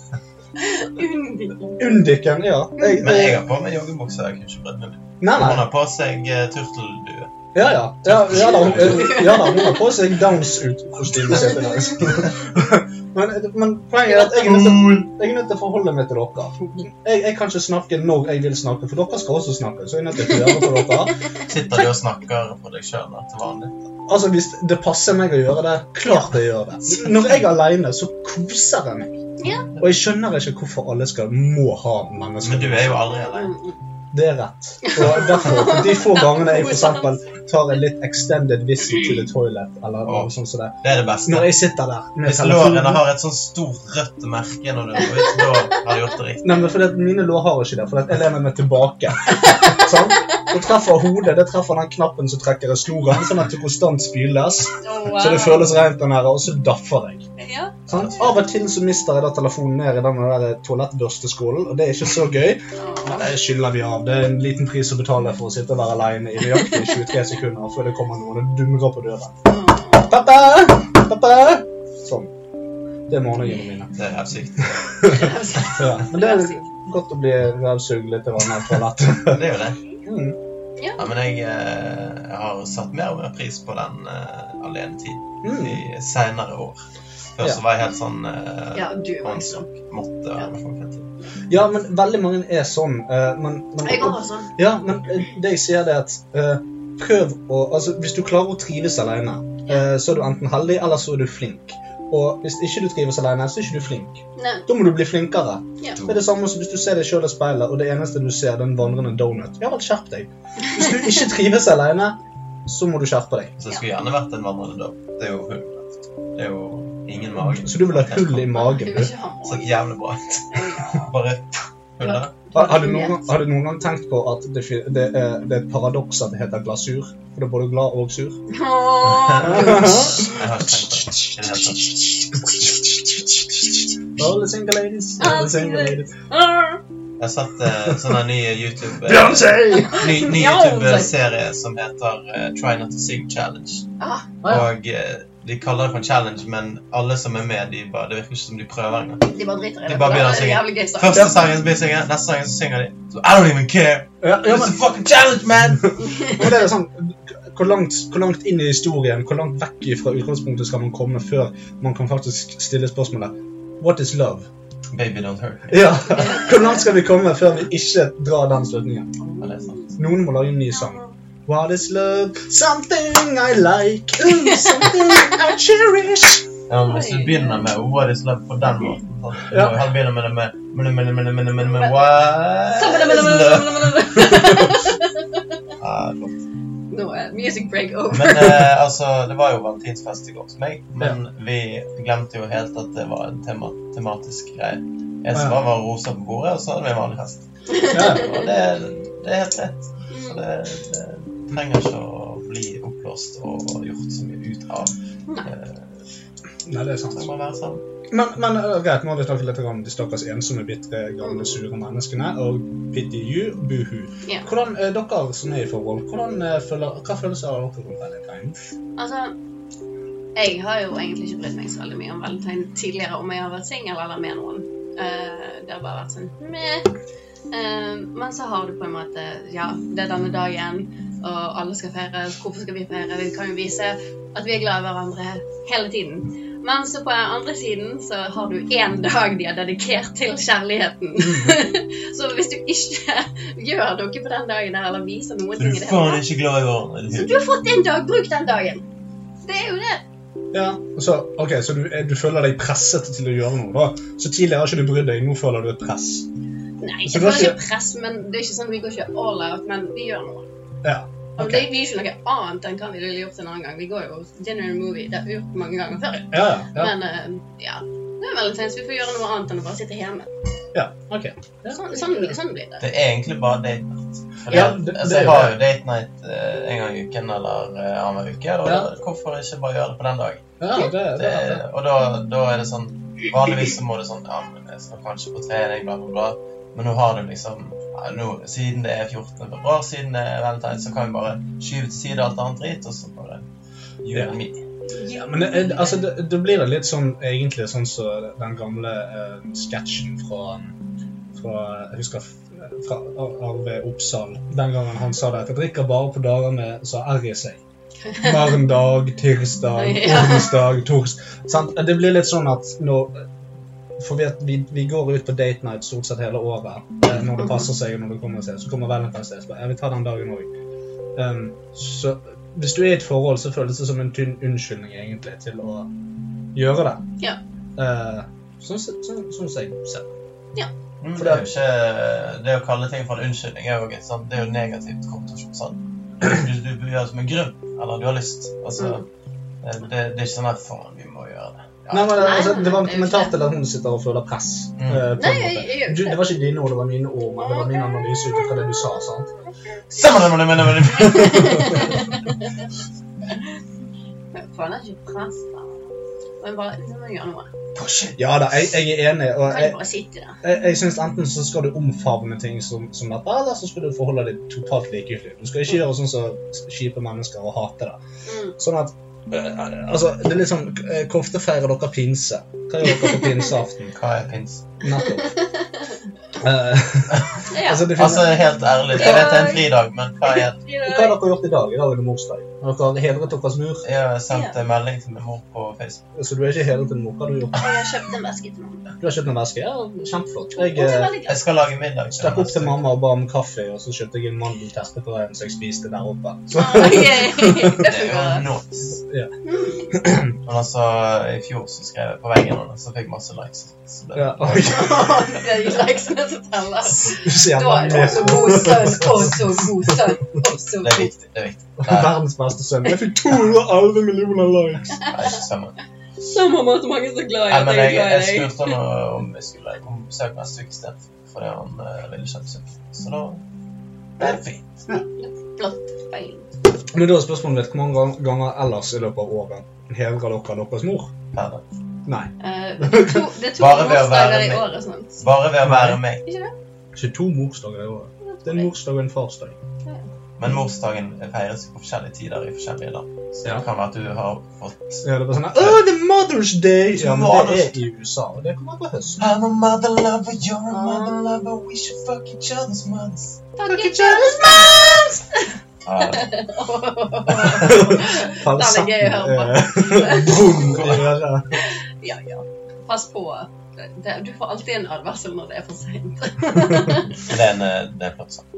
S1: Mm-hmm. Undiken, ja. Jeg,
S3: Men jeg har på meg joggebukse. Jeg kunne ikke brydd meg.
S1: nei, nei.
S3: Hun har på seg uh, turteldue.
S1: Ja, ja. Ja, ja, da, hun, ja da, hun har på seg Downs-kostyme. ser det ut. (laughs) Men, men poenget er at jeg er, liksom- nødt til,
S3: Mm.
S1: jeg er nødt til å forholde meg til dere. Jeg, jeg kan ikke snakke når jeg vil snakke, for dere skal også snakke. så jeg er nødt til å gjøre det for dere.
S3: Sitter du og snakker for deg sjøl til vanlig?
S1: Altså, Hvis det passer meg å gjøre det, klart jeg gjør det. Når jeg er alene, så koser jeg meg.
S2: Ja.
S1: Og jeg skjønner ikke hvorfor alle skal må ha mennesker.
S3: Men du er jo aldri alene.
S1: Det er rett. Og derfor, de få gangene jeg for eksempel tar en litt extended visit to the toilet, eller noe sånt som det.
S3: Det er det beste.
S1: Når jeg sitter der med
S3: Hvis lårene
S1: telefonen
S3: har et sånn stort rødt merke når du går ut, da har du gjort det riktig.
S1: Nei, men fordi at mine lår har ikke det, fordi at jeg lener meg tilbake. (laughs) Sånn? Så treffer hodet, det treffer den knappen som trekker i snoren, sånn at det konstant spyles. Så det føles rent den her, og så daffer jeg.
S2: Ja.
S1: Sånn? Av og til så mister jeg da telefonen ned i den der toalettbørsteskålen, og det er ikke så gøy. Men Det skylder vi av. Det er en liten pris å betale for å sitte og være alene i nøyaktig 23 sekunder før det kommer noen og dundrer på døren. Pappa! Pappa! Sånn. Det er morgenene mine.
S3: Det er helt sykt.
S1: Ja. (laughs) Men det er godt å bli rævsugd litt i vannet på toalettet.
S3: (laughs) Det er jo det.
S1: Mm.
S3: Ja, men jeg, eh, jeg har satt mer og mer pris på den uh, alenetiden
S1: Mm.
S3: i senere år. Før
S1: Ja.
S3: så var jeg helt sånn eh,
S2: Ja, du er
S3: man
S2: voksen.
S3: måtte være med folk hele tiden.
S1: Ja, men veldig mange er sånn. eh, men,
S2: Jeg
S1: men,
S2: går sånn.
S1: ja, men eh, det jeg sier, det er at eh, prøv å altså, Hvis du klarer å trives alene, eh, så er du enten heldig, eller så er du flink. Og hvis ikke du trives alene, så er ikke du flink.
S2: Nei.
S1: Da må du bli flinkere.
S2: Ja.
S1: Det er det samme som hvis du ser deg sjøl i speilet, og det eneste du ser, er den vandrende donut. Ja vel, skjerp deg. Hvis du ikke trives alene, så må du skjerpe deg.
S3: Så jeg skulle gjerne vært en vandrende døv. Det er jo hull. Det er jo ingen mage.
S1: Mm. Så du vil ha hull i magen? du? (laughs)
S2: Du vil ikke ha
S3: Så
S2: meg.
S3: jævlig bra. Bare hull der.
S1: Har, har, du noen, gang- har du noen gang tenkt på at det, fi- det, er, det er et paradoks at det heter glasur? For det er både glad og (laughs) sur.
S2: Åh.
S1: (laughs)
S3: Jeg har ikke tenkt på det. i det hele tatt.
S1: All the single ladies, all the single ladies.
S2: Åh.
S3: Jeg har sett eh, sånn her ny YouTube eh,
S1: Beyoncé!
S3: ny, ny
S2: Ja,
S3: YouTube-serie som heter eh, Try Not To Sing Challenge.
S2: Ah,
S1: ja.
S3: Og eh, de kaller det for en challenge, men alle som er med, de bare, det virker ikke som de prøver engang.
S2: De bare driter i
S3: De
S2: det. Det
S3: bare begynner å
S2: er
S3: synge.
S2: jævlig gøy sagt.
S3: Første sangen så blir de synger, neste sangen så synger de så, I don't even care!
S1: Ja, ja,
S3: It's a fucking challenge, man!
S1: men det er sånn, hvor langt, hvor langt inn i historien, hvor langt vekk fra utgangspunktet skal man komme før man kan faktisk stille spørsmålet What is love?
S3: Baby don't hurt. me.
S1: Ja, (laughs) Hvor langt skal vi komme før vi ikke drar den slutningen?
S3: Ja, det er sant.
S1: Noen må lage en ny sang. What is love? Something I like. Ooh, something I cherish.
S3: Ja, men hvis du begynner med What is love på den måten sånn, Du må jo heller begynne med det med men, men, men, men, men, men, What is love? Ja, flott.
S2: Nå er music break
S1: (laughs)
S2: over.
S3: Men eh, altså, det var jo valentinsfest i går hos meg, men vi glemte jo helt at det var en tema tematisk greie. Jeg som
S1: Ja.
S3: var, var rosa på bordet, og så hadde vi en vanlig fest.
S1: Ja.
S2: (laughs)
S3: Og det, det er helt rett.
S2: Mm.
S3: Så det, det trenger ikke å bli oppblåst og gjort så mye ut av.
S1: Nei, det er sant.
S3: Det må være sånn.
S1: Men, men øh, greit, nå har vi snakket litt om de stakkars ensomme, bitre, gamle, sure menneskene. Og pity you, buhu.
S2: Ja.
S1: Hvordan, øh, dere som er i forhold, hvordan, øh, føler, hva følelser har dere rundt valentine?
S2: Altså, jeg har jo egentlig ikke brydd meg så veldig mye om valentine tidligere, om jeg har vært singel eller med noen. Eh, det har bare vært sånn meh. Eh, men så har du på en måte Ja, det er denne dagen, og alle skal feire. Hvorfor skal vi feire? Vi kan jo vise at vi er glad i hverandre hele tiden. Men så på den andre siden så har du én dag de har dedikert til kjærligheten.
S3: (laughs)
S2: (laughs) så hvis du ikke (laughs) gjør noe på den dagen der, eller viser noen
S3: Så du
S2: ting i
S3: er
S2: det
S3: faen ikke glad i hverandre.
S2: så
S3: eller
S2: du har fått en dag, bruk den dagen. Det er jo det.
S1: Ja, så, ok, så du, er- du føler deg presset til å gjøre noe, da. Så tidligere har ikke du brydd deg, nå føler du et press.
S2: Nei,
S1: Så
S2: ikke,
S1: du har
S2: ikke press, men det er ikke sånn vi går ikke all out, men vi gjør noe.
S1: Ja,
S2: Og
S1: ok.
S2: det, vi gjør ikke noe annet enn hva vi ville gjort en annen gang. Vi går jo dinner and movie, det har vi gjort mange ganger før.
S1: Ja, ja, ja.
S2: Men eh, ja, det er valentines, vi får gjøre noe annet enn å bare sitte hjemme.
S1: ja ok.
S2: Sånn, sånn, sånn blir det.
S3: Det er egentlig bare date night. Fordi
S1: Ja,
S3: at-
S1: det-
S3: altså,
S1: det er
S3: jeg
S1: jo
S3: har
S1: det.
S3: jo date night eh, en gang i uken eller eh, annenhver uke. Da,
S1: Ja.
S3: Hvorfor ikke bare gjøre det på den dagen?
S1: Ja, det, det,
S3: Det, Eh, og da, da er det sånn Vanligvis så må du sånn Ja, men jeg skal kanskje på trening, bla, bla, bla. Men nå har du liksom ja, nå, Siden det er 14. februar, siden det er valentine, så kan vi bare skyve til side alt annet drit, og så bare You
S1: Ja.
S3: and me.
S1: Ja, men det, er- altså, det, det blir jo litt sånn, egentlig sånn som den gamle eh, sketsjen fra, fra Jeg husker f- fra Ar- Arve Oppsal. Den gangen han sa det at jeg drikker bare på dager med så R i seg. Marndag, tirsdag,
S2: (laughs) Ja.
S1: onsdag, torsdag sant? Det blir litt sånn at når For vi, at vi, vi går ut på date night stort sett hele året. eh, Når det passer seg, og når det kommer seg. Så kommer Valentine's Day. så bare, Ja, vi tar den dagen òg. Um, så hvis du er i et forhold, så føles det som en tynn unnskyldning egentlig til å gjøre det.
S2: Ja.
S1: Eh, sånn som sånn, sånn, som jeg ser det.
S3: Mm, det, er jo ikke, det å kalle ting for en unnskyldning er jo, ikke sant? det er jo negativt konnotasjon. sant? Du, du, du gjør det som en grunn, eller du har lyst. Altså, eh, det, det er ikke sånn at faen, vi må gjøre det. Ja.
S1: Mm. Nei, men det,
S2: Nei,
S1: altså, det var en
S2: det er jo
S1: kommentar
S2: ikke
S1: til at hun sitter og føler press.
S3: Mm.
S1: eh, på
S2: Nei,
S1: en
S2: jeg,
S1: måte.
S2: jeg gjør
S1: Du,
S2: ikke
S1: det
S2: det.
S1: var ikke dine ord, det var mine ord, men det var min analyse ut fra det du sa. sant?
S3: Sammen med det, men, men,
S2: Jeg føler ikke press. da. Men bare du må gjøre noe.
S3: Push it.
S1: Ja da, jeg, jeg er enig. og
S2: Kan
S1: jeg,
S2: ikke bare sitte der.
S1: jeg, jeg synes Enten så skal du omfavne ting som, som dette, eller så skal du forholde deg totalt likegyldig. Du skal ikke gjøre sånn som kjipe mennesker og hate det.
S2: Mm.
S1: Sånn at eh, Altså, det er litt sånn eh, Hvor ofte feirer dere pinse? Hva gjør dere på pinseaften?
S3: Hva er pins?
S2: (laughs)
S1: Nettopp. Eh,
S2: Ja.
S1: altså, det finnes,
S3: Altså, helt ærlig, jeg vet det er en fridag, men hva er
S1: hva har dere gjort i dag? I dag er det morsdag. Har dere hedret deres mor?
S3: Jeg har sendt en melding til min mor på Facebook.
S1: Så du er ikke hedret din mor. Hva har du gjort?
S2: Jeg har kjøpt en veske til mamma.
S1: Du har kjøpt en veske? Ja, kjempeflott.
S2: Og det er
S1: Jeg uh,
S2: veldig
S3: Jeg skal lage middag. til
S1: stakk opp
S3: neste
S1: til
S3: uke.
S1: mamma og ba om kaffe, og så kjøpte jeg en mandelterte på veien, så jeg spiste der oppe. Så,
S2: greit. Det
S3: Det er jo
S2: fungerer.
S3: nuts.
S1: Ja.
S3: Men altså, i fjor så skrev jeg på veggen hennes, så fikk jeg masse likes. Så det,
S1: ja, (laughs) oi.
S2: Det er jo leksene som teller.
S1: Du ser
S2: Da er du
S1: meg.
S2: så god sønn, og så god sønn, og så
S3: det er
S2: god
S3: viktig. Det er viktig. Det
S1: (laughs)
S3: er,
S1: Verdens beste sønn. Jeg fikk 211 millioner likes.
S3: det er ikke sammen.
S2: Som om at mange er så glad i
S3: Nei,
S2: at
S3: men
S2: jeg er
S3: jeg, jeg
S2: glad i deg.
S3: spurte han om vi skulle på besøk neste uke i stedet, fordi han eh, ville kjenne seg. Så da ble det fint.
S2: Flott. Feil.
S1: Men da er spørsmålet mitt hvor mange gang- ganger ellers i løpet av året hedrer dere deres mor?
S3: Per dag.
S1: Nei.
S2: Eh, Det er to, det er to
S3: Bare ved å være
S2: morsdager i
S3: med.
S2: året, sant?
S3: Bare ved å være meg.
S2: Ikke det?
S1: Ikke to morsdager i året. Det er en morsdag og en farsdag.
S3: Men morsdagen feires jo på forskjellige tider i forskjellige land. Så
S1: Ja.
S3: det kan være at du har fått
S1: Ja, det var sånn her, Åh, det er Mother's Day! Ja, men det
S3: Mother's-
S1: er i USA, og det kommer på høsten.
S3: I'm a mother lover, you're a
S2: Ah.
S3: mother lover, we should fuck each other's mothers.
S2: Takk
S1: Takk,
S2: each other's moms!
S3: Ah,
S2: Den er gøy å høre på.
S1: eh, (laughs) Brum i øret.
S2: Ja, ja. (laughs) Pass på. Det, det, du får alltid en advarsel når det er for sent.
S3: det er en, eh, det er flott sånn.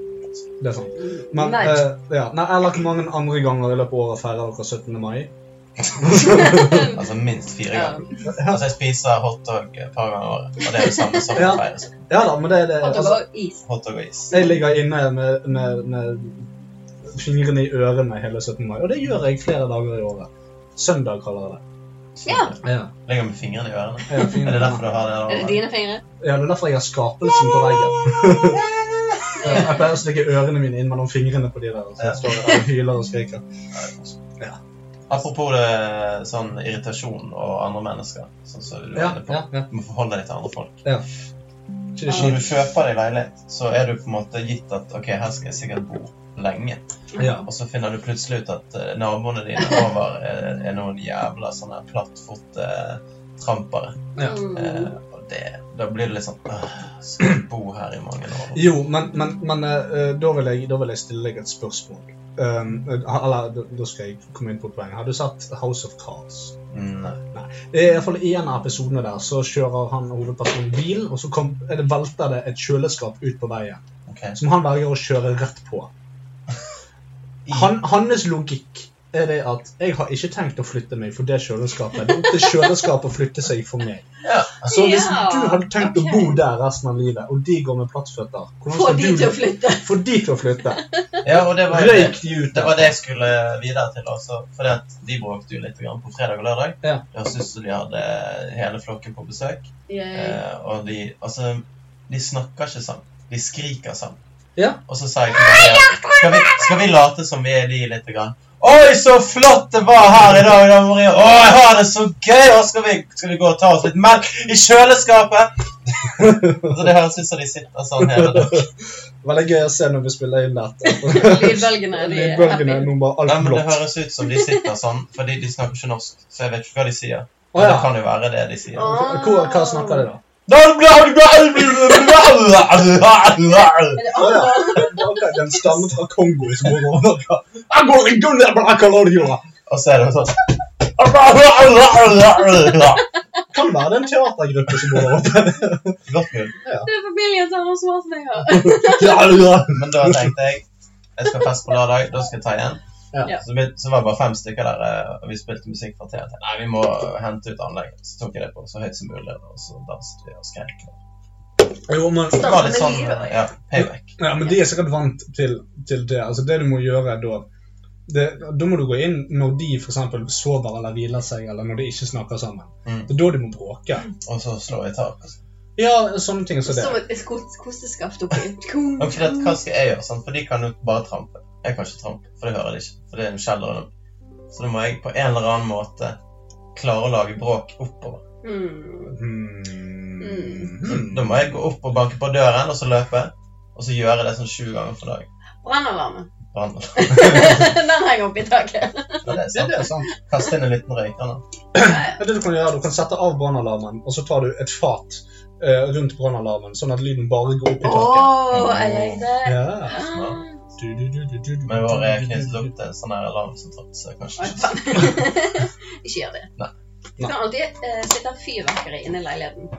S1: Det er sant. Men,
S2: Nei. (laughs)
S1: eh, ja, nei, eller hvor mange andre ganger i løpet av året feirer dere 17. mai?
S3: Altså minst fire
S2: Ja.
S3: ganger. Altså jeg spiser hotdog et par ganger i året, og det er det samme som
S1: Ja.
S3: feires.
S1: Ja da, men det er det.
S2: At du
S1: Altså,
S2: har is.
S3: Hotdog og is.
S1: jeg ligger inne med, med, med fingrene i ørene hele 17. mai, og det gjør jeg flere dager i året. Søndag kaller jeg det.
S2: Ja.
S1: Ja,
S3: Legger med fingrene i ørene.
S1: ja,
S3: (laughs) Er
S1: fingrene.
S3: det
S1: i
S3: derfor
S1: ørene.
S3: du har det?
S2: Er det
S3: der?
S2: dine fingre?
S1: ja, det er derfor jeg har skapelsen på veggen.
S2: (laughs)
S1: Ja, Jeg pleier å stikke ørene mine inn mellom fingrene på de der, og så
S3: Ja.
S1: står jeg der og hyler og skriker. Ja.
S3: Apropos det, sånn irritasjon og andre mennesker. Sånn som du
S1: Ja,
S3: er inne på.
S1: ja, ja.
S3: Du må forholde deg til andre folk.
S1: Ikke det
S2: Ja.
S3: Når
S1: kjipt?
S3: du kjøper deg leilighet, så er du på en måte gitt at ok, her skal jeg sikkert bo lenge.
S1: Ja.
S3: Og så finner du plutselig ut at eh, naboene dine over er, er noen jævla sånne plattfot-trampere.
S1: Ja.
S2: Mm.
S3: Eh, og det, da blir det litt sånn «Åh, Skal jeg bo her i mange år?
S1: Jo, men, men, men eh, da, vil jeg, da vil jeg stille deg et spørsmål. Um, eller, da- da skal jeg komme inn på et poeng. Har du sett House of Cards?
S3: Nei.
S1: I hvert fall i en av episodene der så kjører han hovedpersonen bil, og så kom, er det velter det et kjøleskap ut på veien,
S3: Ok.
S1: som han velger å kjøre rett på. Han, hans logikk er det at jeg har ikke tenkt å flytte meg for det kjøleskapet. Det er opp til kjøleskapet å flytte seg for meg.
S3: Ja.
S1: Så hvis
S2: Ja,
S1: du hadde tenkt
S2: ok.
S1: å bo der resten av livet, og de går med plattføtter, hvordan
S2: Få
S1: skal
S2: de
S1: du
S2: til å flytte.
S1: Få de til å flytte.
S3: ja, og det var jo det.
S1: Røyk de ut
S3: Det var
S1: der.
S3: det jeg skulle videre til. også, fordi at De bråkte jo litt grann på fredag og lørdag.
S1: Ja.
S3: Da syntes de hadde hele flokken på besøk.
S2: Yay.
S3: Eh, og de, altså, de snakker ikke sammen. De skriker sammen.
S1: Ja.
S3: Og så sa jeg til Maria skal vi, skal vi late som vi er de litt? Grann? Oi, så flott det var her i dag, da, Maria. Å, jeg har det så gøy! Og skal vi, skal vi gå og ta oss litt melk i kjøleskapet? så det høres ut som de sitter sånn hele dagen.
S1: Veldig gøy å se når vi spiller inn dette.
S2: (laughs) Lydbølgene de er
S1: Lydbølgene
S2: happy.
S1: nå bare
S3: Nei,
S1: alt
S3: men det
S1: blått.
S3: høres ut som de sitter sånn, fordi de snakker ikke norsk. Så jeg vet ikke hva de sier.
S1: Å
S3: Men det
S1: ja.
S3: kan jo være det de sier.
S1: Hvor, hva snakker de, da?
S2: Er det
S1: Å ja.
S2: andre?
S1: Ok, Den stammer fra Kongo i små råvarer. Jeg går i gull, jeg bare kaller det jorda.
S3: Og så er det sånn
S1: Kan være det er en teatergruppe som går over.
S3: Godt mulig.
S2: Det er familien til Anders Marsmeier.
S1: Ja, ja.
S3: Men da tenkte jeg jeg skal feste på lørdag, da skal jeg ta igjen.
S1: Ja.
S3: Så, vi, så var det bare fem stykker der, eh, og vi spilte musikk fra TV. Nei, vi må hente ut anlegget. Så tok jeg det på så høyt som mulig, og så danset vi og skrek.
S1: Jo, men,
S3: Det var litt sånn eh, ja, payback.
S1: ja, men de er sikkert vant til, til det. Altså, det du må gjøre da det, Da må du gå inn når de for eksempel sover eller hviler seg, eller når de ikke snakker sammen.
S3: Mm.
S1: Det er da du må bråke.
S3: Og så slår vi tak. altså.
S1: Ja, sånne ting som det.
S2: Som et kos- kosteskaft oppi. Kung.
S3: Men for det, hva skal jeg gjøre? Sant? For de kan jo bare trampe. Jeg kan ikke trampe, for det hører de ikke. For det er en kjeller under. Så da må jeg på en eller annen måte klare å lage bråk oppover.
S2: Mm.
S1: Hmm.
S3: Så
S1: Hmm.
S3: (clears throat) Da må jeg gå opp og banke på døren, og så løpe. Og så gjøre det sånn sju ganger for dag.
S1: (laughs)
S2: Brannalarmen.
S3: Brann.
S2: Den henger oppi taket. (laughs)
S3: Ja, (laughs)
S1: Ja,
S3: det er sant.
S1: det er sant.
S3: Kaste inn en liten røykgranat.
S1: Ja, det du kan gjøre, du kan sette av brannalarmen, og så tar du et fat eh, rundt brannalarmen, sånn at lyden bare går opp i
S2: Å,
S1: taket.
S2: jeg likte det.
S1: Ja.
S2: Ah.
S1: Du, du, du, du, du, du.
S3: Med vår eh, knivslukt en sånn her alarmsentral, så kanskje
S2: Oi,
S3: ikke
S2: faen. (laughs) Ikke gjør det.
S3: Nei.
S2: Du kan alltid eh, sitte fyrverkeri inne i leiligheten.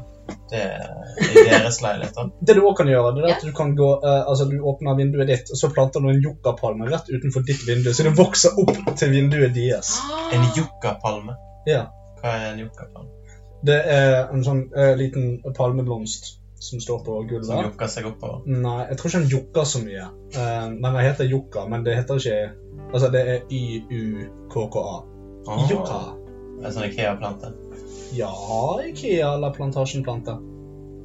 S3: det er i deres leiligheter.
S1: Det du også kan gjøre, det er at du kan gå, eh, altså du åpner vinduet ditt, og så planter du en yuccapalme rett utenfor ditt vindu, så det vokser opp til vinduet deres.
S2: Ah.
S3: En yuccapalme.
S1: Ja.
S3: Hva er en yuccapalme?
S1: Det er en sånn eh, liten palmeblomst som står på
S3: Som
S1: gulvet.
S3: yukker seg oppover.
S1: Nei, jeg tror ikke den yukker så mye. Eh, men den heter yucca, men det heter ikke, altså det er Y-U-K-K-A.
S3: Åh,
S1: Yucca.
S3: En sånn Ikea-plante.
S1: Ja, Ikea eller plantasjenplante.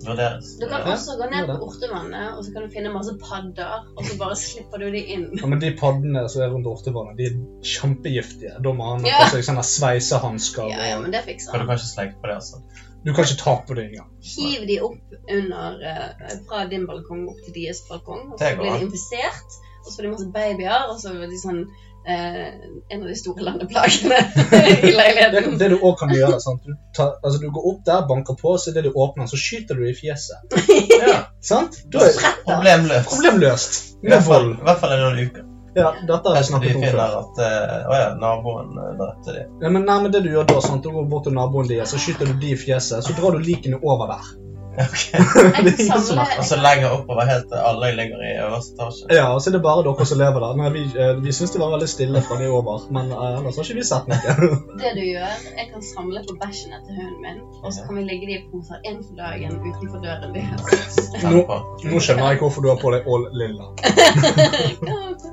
S3: Vurderes.
S2: Du kan
S1: Ja,
S2: også gå ned
S1: gjør
S2: på
S1: det.
S2: Ortevannet, og så kan du finne masse padder, og så bare slipper du de inn.
S1: Ja, men de paddene som er rundt ortevannet, de er kjempegiftige. Da må han ha
S2: Ja.
S1: på seg sånne sveisehansker.
S2: Ja, ja, men det fikser
S3: Skal du
S2: han.
S3: kanskje sleike på det, altså?
S1: Du kan ikke ta på det engang.
S2: Hiv de opp under, eh, fra din balkong opp til deres balkong, og så
S3: Det går
S2: blir
S3: an.
S2: de infisert, og så får de masse babyer, og så blir de sånn eh, en av de store landeplagene (laughs) i
S1: Det,
S2: leiligheten.
S1: det du òg kan gjøre, sant? Du, tar, altså, du går opp der, banker på, så idet du åpner, så skyter du i fjeset.
S3: Ja.
S1: Sant? Da er
S2: Spretter.
S3: Problemløst.
S1: problemløst.
S3: I
S1: Med
S3: hvert fall,
S1: vold.
S3: i hvert fall i noen uker.
S1: Ja, dette har jeg
S3: Kanskje de
S1: snakket om
S3: finner
S1: før.
S3: at eh, Å ja, naboen eh, drepte de.
S1: Ja, men, nei, men det Du gjør da, sant? Du går bort til naboen din, så skyter du de i fjeset, så drar du likene over der.
S3: Ok.
S1: (laughs) Det er
S2: Jeg
S1: ingen som
S2: samler
S3: Og så lenger oppover helt til alle ligger i øverste etasje.
S1: Ja, og så er det bare dere som lever der. Nei, vi, eh, vi syns det var veldig stille fra de over, men eh, ellers har ikke vi sett noe.
S2: Det du gjør, jeg kan samle på bæsjene til hunden min, og så kan vi legge de i poser én for dagen utenfor døren deres.
S3: Tenn på.
S1: Nå skjønner jeg hvorfor du har på deg all lilla.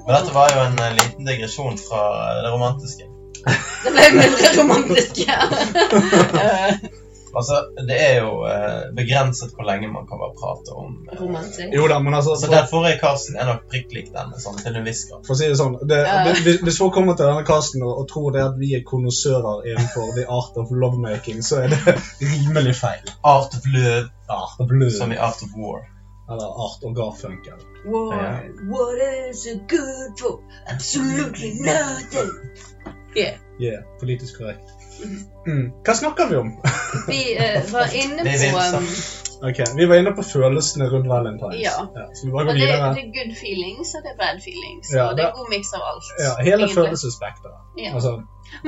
S3: Men dette var jo en eh, liten digresjon fra eh, det romantiske.
S2: Det ble mindre romantisk her. Eh,
S3: Altså, Det er jo eh, begrenset hvor lenge man kan bare prate om eh,
S2: romantisk.
S1: Jo da, men altså
S3: Så den forrige Karsten er nok prikk lik denne, sånn til en viss grad.
S1: For å si det sånn, det,
S2: Ja.
S1: hvis, hvis folk kommer til denne casten og, og tror det at vi er konnoissører innenfor the art of lovemaking, så er det rimelig feil.
S3: Art of Love,
S1: Art of blue,
S3: som i Art of War.
S1: eller art of garfunkel.
S2: War,
S3: Ja.
S2: what is it good for? Absolutely nothing.
S1: Yeah, politisk korrekt.
S2: Mhm.
S1: Mm. Hva snakker vi om?
S2: Vi eh, var inne
S3: Det er
S2: på
S3: vimsa.
S2: um,
S1: Ok, Vi var inne på følelsene rundt valentines.
S2: Ja.
S1: Skal vi bare
S2: og
S1: gå
S2: det, det
S1: videre?
S2: er good feelings og det er bad feelings.
S1: Ja,
S2: og det er
S1: det-
S2: god miks av alt.
S1: Ja, Hele
S2: egentlig.
S1: følelsesspekteret.
S2: Ja.
S1: Altså,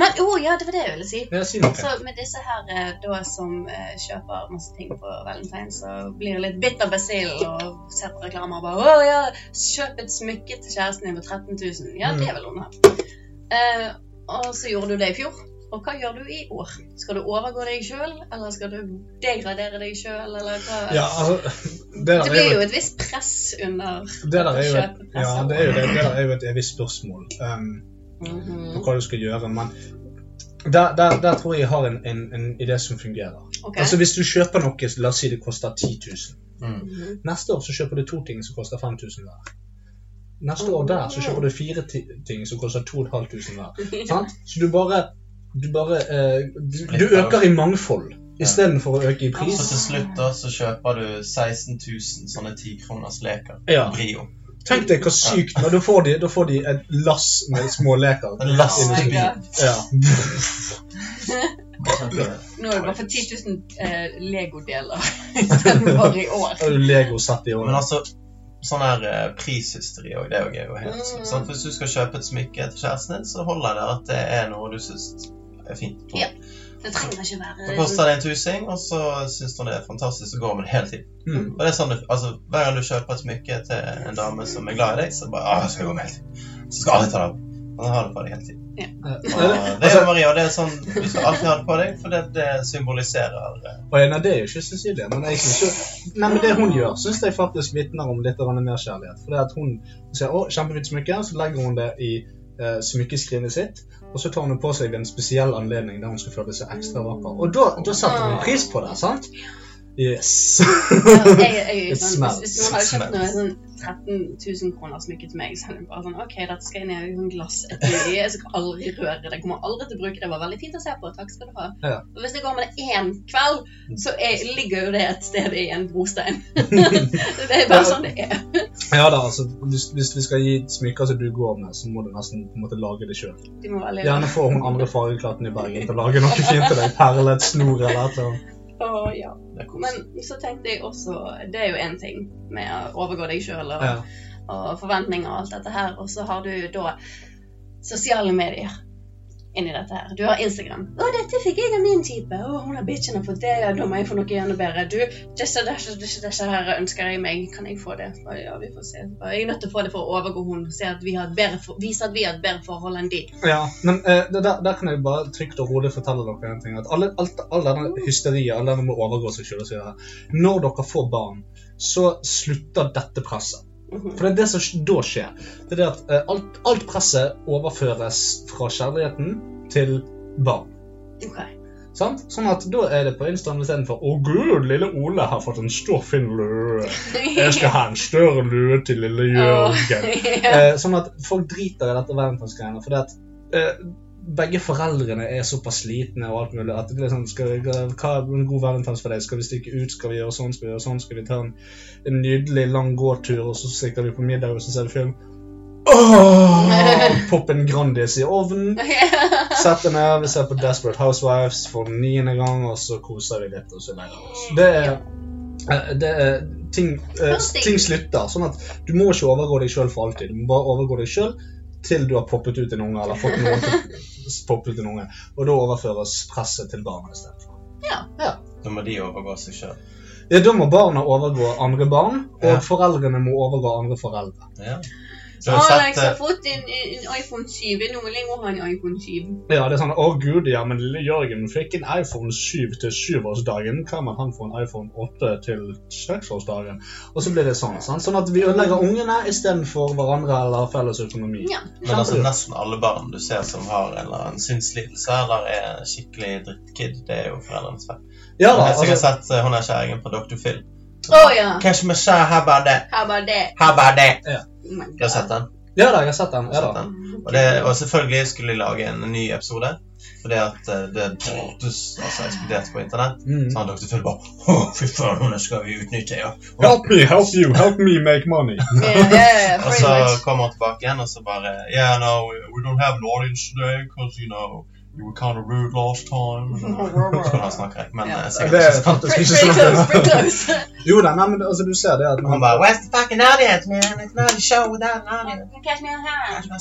S2: Men å ja, det var det jeg ville si.
S1: jeg sier noe.
S2: Så med disse her eh, da som eh, kjøper masse ting på Valentine, så blir det litt bitter basil og ser på reklamer og bare 'Å ja, kjøp et smykke til kjæresten din på 13 000.' Ja, det er vel hun her. Eh, og så gjorde du det i fjor. Og hva gjør du i år? Skal du overgå deg sjøl, eller skal du degradere deg sjøl, eller hva?
S1: Ja, altså, det
S2: det
S1: der er
S2: blir
S1: jo
S2: jo et visst press under
S1: det der er jo et,
S2: kjøpepresset.
S1: ja, det er jo, det, det der er jo et evig spørsmål. Um, på
S2: Mhm.
S1: hva du skal gjøre, men der, der, der tror jeg jeg har en, en, en idé som fungerer.
S2: Ok.
S1: Altså Hvis du kjøper noe, la oss si det koster 10 000,
S3: Mm.
S2: Mhm.
S1: Neste år så kjøper du to ting som koster 5000 hver. Neste år der så kjøper du fire ti- ting som koster 2500 (laughs) hver. Sant? Så du bare Du bare eh, du, du
S3: Splitter.
S1: øker i mangfold istedenfor å øke i
S3: Så
S1: pris.
S3: til slutt da, så kjøper du 16 000 sånne 10-kroners leker.
S1: Ja.
S3: Brio.
S1: Tenk deg hvor sykt men da får de, da får de et lass med småleker.
S3: En lastebil.
S2: Oh
S1: Ja.
S2: Nå er det bare for 10 000 eh, Lego-deler (laughs) bare i år.
S1: Og Lego satt i
S3: Men
S1: år.
S3: altså, sånn her eh, prishysteri òg, det er jo
S2: Mm.
S3: helt sånn. sant? Hvis du skal kjøpe et smykke til kjæresten din, så holder det at det er noe du syns er fint.
S2: Ja. Det trenger ikke være sånn-
S3: Så koster det en tusing, og så syns hun det er fantastisk, så går hun hele tiden.
S1: Mm.
S3: Og det er sånn, du- altså, Hver gang du kjøper et smykke til en dame som er glad i deg, så bare «Åh, jeg skal gå med hele tiden. Så skal alle ta det av. Og så har du på deg hele tiden. Og
S1: Eh,
S3: det er jo Maria, og det er sånn, du skal alltid ha det på deg, for det, det symboliserer eh,
S1: Og nei, det er jo ikke Cecilie, men jeg synes jo, nei, men det hun gjør, synes jeg faktisk vitner om litt grann mer kjærlighet. For det at hun sier 'Å, kjempefint smykke', så legger hun det i eh, smykkeskrinet sitt, og så tar hun det på seg ved en spesiell anledning der hun skal føle seg ekstra vakker. Og da, da setter hun pris på det, sant? Yes. (laughs)
S2: Ja, jeg, jeg, er jo
S1: It
S2: sånn,
S1: smells.
S2: hvis, hvis noen hadde kjøpt noe
S3: Smells.
S2: sånn 13 000 kroner smykke til meg, så hadde jeg bare sånn OK, dette skal jeg ned i sånn glass et øye, jeg skal aldri røre det. Jeg kommer aldri til å bruke det. Det var veldig fint å se på. Takk skal du ha.
S1: Ja.
S2: Og hvis jeg går med det én kveld, så er, ligger jo det et sted i en brostein. (laughs) det er bare sånn det er.
S1: Ja da, altså, hvis, hvis vi skal gi smykker som du går med, så må du nesten på en måte lage det sjøl.
S2: De må være litt
S1: Gjerne få hun andre fargeklatten i Bergen til å lage noe fint til deg. Perlet, snor eller et eller annet.
S2: Å, ja.
S3: det er kos.
S2: Men så tenkte jeg også Det er jo én ting med å overgå deg sjøl og,
S1: Ja.
S2: og forventninger og alt dette her. Og så har du da sosiale medier inni dette her. Du har Instagram. 'Å, dette fikk jeg av min type.' 'Å, hun har bitchen har fått det.' Ja, 'Da må jeg få noe enda bedre.' 'Du, disse, disse, disse, disse her ønsker jeg meg. Kan jeg få det?' Bare, ja, vi får se. Bare, jeg er nødt til å få det for å overgå hun. Se at vi har et bedre for, vise at vi har et bedre forhold enn de.
S1: Ja, men eh, det der, der kan jeg bare trygt og rolig fortelle dere en ting. At alle, alt, all denne hysteriet, all denne med å overgå seg selv og så videre. Når dere får barn, så slutter dette presset.
S2: Mhm.
S1: For det er det som da skjer. Det er det at eh, alt, alt presset overføres fra kjærligheten til barn.
S2: Ok.
S1: Sant? Sånn at da er det på Instagram istedenfor 'Å gud, lille Ole har fått en stor fin lue'. 'Jeg
S2: (laughs)
S1: skal ha en større lue til lille Jørgen'.
S2: Ja.
S1: Eh, sånn at folk driter i dette valentinsgreiene. Fordi at eh, begge foreldrene er såpass slitne og alt mulig at det blir sånn skal vi, Hva er en god valentins for deg? Skal vi stikke ut? Skal vi gjøre sånn? Skal vi gjøre sånn? Skal vi ta en, en nydelig lang gåtur, og så stikker vi på middag og så ser vi film? Åh! Popp en Grandis i ovnen. Sett deg ned, vi ser på Desperate Housewives for niende gang, og så koser vi litt. og så leier vi oss. Det er, eh, det er ting, eh, ting slutter. sånn at Du må ikke overgå deg sjøl for alltid. Du må bare overgå deg sjøl til du har poppet ut en unge, eller fått noen til å poppe ut en unge. Og da overføres presset til barna istedenfor.
S3: Da må de overgå seg sjøl.
S1: Ja, da må barna overgå andre barn, og
S3: Ja.
S1: foreldrene må overgå andre foreldre.
S3: Ja. Du har jo
S2: Alex
S3: sett, eh,
S2: har fått en, en iPhone 7. Nå må jeg ha en iPhone 7.
S1: Ja, det er sånn Å, gud, ja, men lille Jørgen fikk en iPhone 7 til syvårsdagen. Hva med han får en iPhone 8 til seksårsdagen? Og så blir det sånn. sant? Sånn at vi ødelegger ungene istedenfor hverandre eller felles økonomi.
S2: Ja.
S3: Men altså, nesten alle barn du ser som har en eller annen synslidelse eller er skikkelig drittkid, det er jo foreldrenes feil.
S1: Ja
S3: Jeg
S1: da,
S3: har sikkert
S1: altså,
S3: sett eh, hun er kjerringen på Dr. Phil.
S2: Å ja.
S3: Kanskje vi ser her bare det,
S2: Her var det.
S3: her bare det.
S2: Oh my
S3: Jeg har sett den.
S1: ja da, jeg har sett den. altså. Ja
S3: Jeg har sett
S1: da.
S3: den. Og, det, og selvfølgelig skulle de lage en ny episode, fordi at eh, det du, altså, eksploderte på internett.
S1: Mm.
S3: Så han Dr. Phil bare Å, fy faen, hun skal vi utnytte, ja.
S1: Help me, help you, help me make money.
S2: Ja, ja, ja,
S3: Og
S2: pretty
S3: så
S2: much.
S3: kommer han tilbake igjen og så bare Yeah, no, we don't have an audience today because, you know, you were kind of rude last time.
S1: (laughs)
S3: Skulle han snakke rett, men
S2: Ja.
S3: eh,
S1: Det
S3: sikkert
S1: er
S3: ikke sant.
S1: faktisk
S2: Pretty
S1: ikke (laughs)
S2: pretty close, pretty
S1: sånn.
S2: close.
S1: Jo da, nei, men altså, du ser det at
S3: Han bare Where's the fucking audience, man? It's not a show without an audience.
S2: Catch me on (laughs) hand.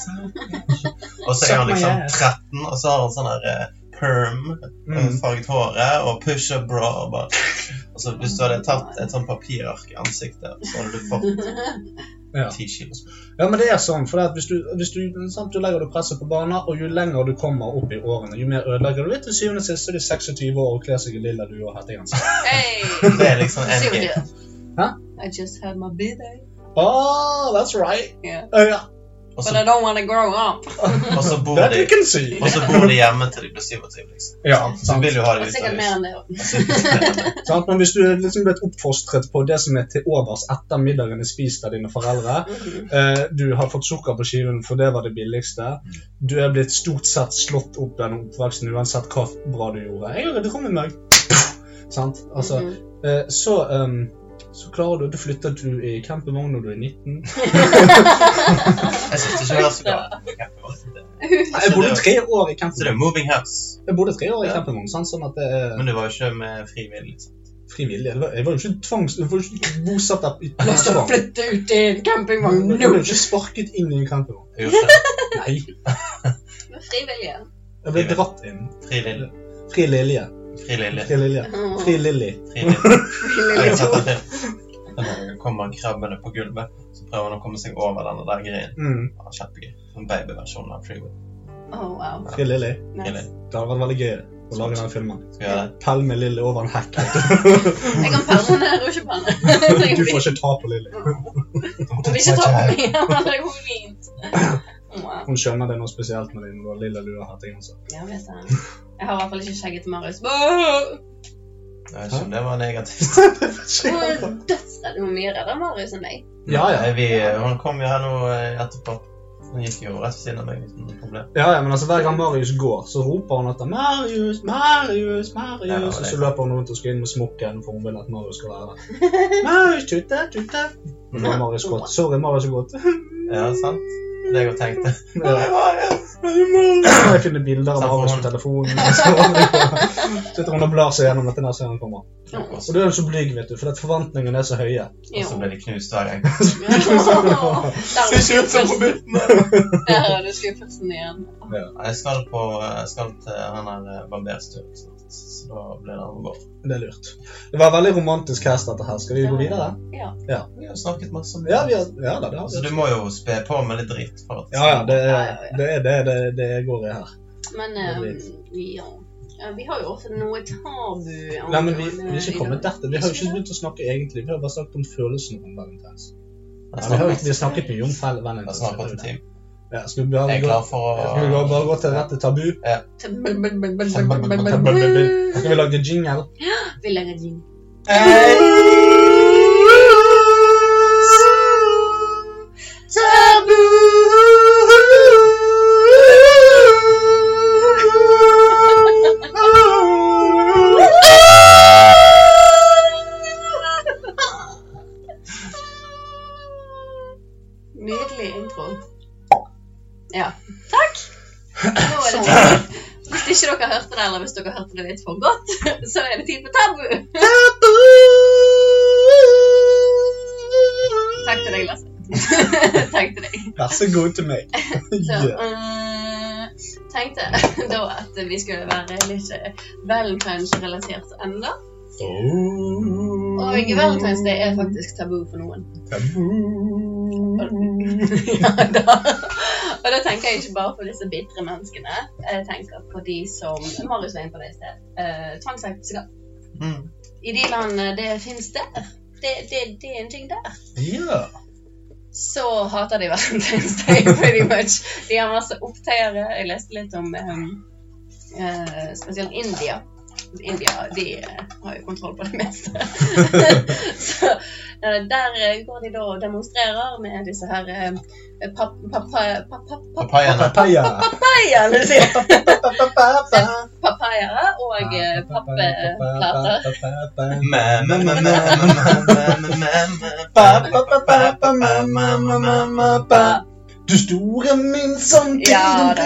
S3: Og så er
S1: Suck my
S3: han liksom
S1: ass.
S3: 13, og så har han sånn her eh, perm, eh,
S1: Mm.
S3: farget håret, og push-up bra, og bare Og så hvis du hadde tatt et sånt papirark i ansiktet, så hadde du fått
S1: Ja.
S3: ti kilo.
S1: Ja, men det er sånn, for det at hvis du, hvis du, sant, du legger du presset på barna, og jo lenger du kommer opp i årene, jo mer ødelegger du. Til syvende og sist så er de 26 år og kler seg i lilla due og hettegenser.
S2: Hey.
S3: Det er liksom
S2: (laughs) See what
S3: endgame.
S2: you-
S1: Hæ?
S2: I just had my baby.
S1: Oh, that's right.
S2: Yeah.
S1: Eh, ja.
S3: Og
S2: But I
S3: så,
S2: don't want to grow up.
S3: og så bor
S1: That
S3: de
S1: we can see.
S3: og så bor de hjemme til de blir 27, liksom.
S1: Ja,
S3: Så
S1: sant.
S3: vil jo ha
S2: Det
S3: det
S2: er
S3: ut av
S2: sikkert mer
S3: huset.
S2: enn det også.
S1: sant? Men hvis du er liksom blitt oppfostret på det som er til overs etter middagen er spist av dine foreldre,
S2: Mhm.
S1: Eh, Du har fått sukker på skiven, for det var det billigste. Du er blitt stort sett slått opp gjennom oppveksten, uansett hva bra du gjorde. Jeg gjorde det kom i meg. Sant? Altså,
S2: Mhm.
S1: eh, så, ehm, så klarer du, du flytter du i campingvogn når du er 19.
S3: (laughs) Jeg synes ikke det er så
S1: (laughs)
S3: galt.
S2: (laughs)
S1: Nei, jeg bodde tre år i
S3: Så det
S1: campingvogn.
S3: er moving house.
S1: Jeg bodde tre år i
S3: Ja.
S1: campingvogn, sant? sånn at det
S3: Men
S1: er
S3: du var jo ikke med frivillig. liksom.
S1: frivillig. Jeg var, jeg var jo ikke tvangs... Jeg var jo ikke bosatt der (laughs) i
S2: La oss
S1: plassvogn.
S2: flytte ut i
S1: (laughs)
S2: campingvogn
S1: Jeg
S2: nå!
S1: ble jo ikke sparket inn i en campingvogn.
S3: Jeg gjorde ikke
S1: Nei.
S2: Men Frivillige.
S1: Jeg ble dratt inn.
S3: det. Frivillig.
S1: Fri Lilje.
S3: Frivillig.
S2: (laughs)
S1: Fri Lilje.
S2: Åh,
S1: Fri Lilly.
S3: Frivillig. Jeg har
S2: frivillige
S3: sett
S2: to.
S3: (laughs) en film. Den kommer krabbene på gulvet, så prøver han å komme seg over denne der greien.
S1: Mm.
S3: Ja, Kjempegøy. En babyversjon av Freeway.
S2: Åh, Oh, wow.
S1: Fri Lilly.
S2: Nice.
S1: Det hadde vært veldig gøy å lage den filmen.
S3: Skal vi
S2: Mm.
S3: gjøre det?
S1: Pælme Lilly over en (laughs) hekk.
S2: Jeg kan permanere rusjepanne.
S1: Du får ikke ta på Lilly.
S2: Du vil ikke ta på (laughs) meg, men det går fint. Wow.
S1: Hun skjønner det noe spesielt med din lille lue hettegenser.
S2: Jeg vet det. Jeg har i hvert fall ikke skjegget til Marius. Åh,
S3: Jeg vet ikke om det var negativt.
S2: Hun er dødsredd. Hun er mye reddere Marius enn deg.
S1: (laughs) Ja, ja.
S3: Nei, Vi, hun kom jo her nå eh, etterpå. Hun gikk jo rett ved siden av meg uten problem.
S1: Ja, ja, men altså Hver gang Marius går, så roper hun etter 'Marius, Marius,
S3: Ja, det var
S1: Marius',
S3: det.
S1: og så løper hun rundt og skal inn med smokken, for hun vil at Marius skal være der. 'Marius, tutte, tutte'. Og da er Marius gått. 'Sorry, Marius er gått'.
S3: Ja, sant? Det jeg tenkte.
S1: (laughs) Ja. Jeg finner bilder av Marius på telefonen. Så sitter hun og blar seg gjennom dette neste gang han kommer.
S2: Åh.
S1: Og du er jo så blyg, vet du, fordi at forventningene er så høye.
S3: Og så ble de knust hver
S1: (laughs)
S3: gang.
S2: Jo. Der er du skuffet.
S3: buttene!
S2: Der er du skuffelsen igjen.
S3: Jeg skal, på, jeg skal til han her eh, barberstuen snart, så da blir det han vår.
S1: Det er lurt. Det var veldig romantisk cast, dette her. Skal vi gå videre?
S2: Ja.
S3: Vi har snakket masse om det.
S1: Ja, vi har, ja da, det har
S3: Så
S1: vi.
S3: du må jo spe på med litt dritt. for at
S1: Ja, ja, det er det, er, det, det, det går i her.
S2: Men eh, ja. Ja, Vi har jo også noe tabu.
S1: Nei, men vi, vi er ikke kommet dertil. Vi har jo ikke begynt å snakke egentlig. Vi har bare snakket om følelsen om valentins.
S3: Jeg
S1: Ja, vi har jo ikke
S3: snakker-
S1: vi har snakket mye om fel-
S3: jeg har
S1: valentins.
S3: snakket en time.
S1: Ja, skal vi bare
S3: Jeg er
S1: gå,
S3: klar for å
S1: skal vi bare, bare gå til rette tabu? Skal vi lage jingle?
S2: Vi legger din.
S1: Tabu!
S2: Nydelig intro. Ja. Takk! Nå er det tid. Hvis ikke dere hørte det, eller hvis dere hørte det litt for godt, (laughs) så er det tid for tabu. Takk til deg, Lasse. (laughs) Takk til deg.
S1: Vær så god til meg.
S2: Så
S1: Ja.
S2: eh, tenkte da at vi skulle være litt valentinsrelatert enda. Og valentines det er faktisk tabu for noen. ja da. Og da tenker jeg ikke bare på disse bitre menneskene. Jeg tenker på de som Marius var inne på det i sted. Uh, Tvangsekteskap.
S3: Mm.
S2: I de landene det fins der, det, det, det er en ting der,
S1: Ja.
S2: så hater de Valentine's Day pretty much. De har masse opptøyere. Jeg leste litt om eh, eh, spesielt India. India de eh, har jo kontroll på det meste. (laughs) så eh, der eh, går de da og demonstrerer med disse her eh, pap, pap, pap, pap, pap, pap,
S3: Papayene.
S1: Papaya.
S2: papayene sine.
S1: Papaya.
S2: Papayaer og eh, papplater.
S3: Mæ, mæ, mæ, mæ, mæ, mæ, mæ, mæ, mæ.
S1: Du store min som
S2: Ja da.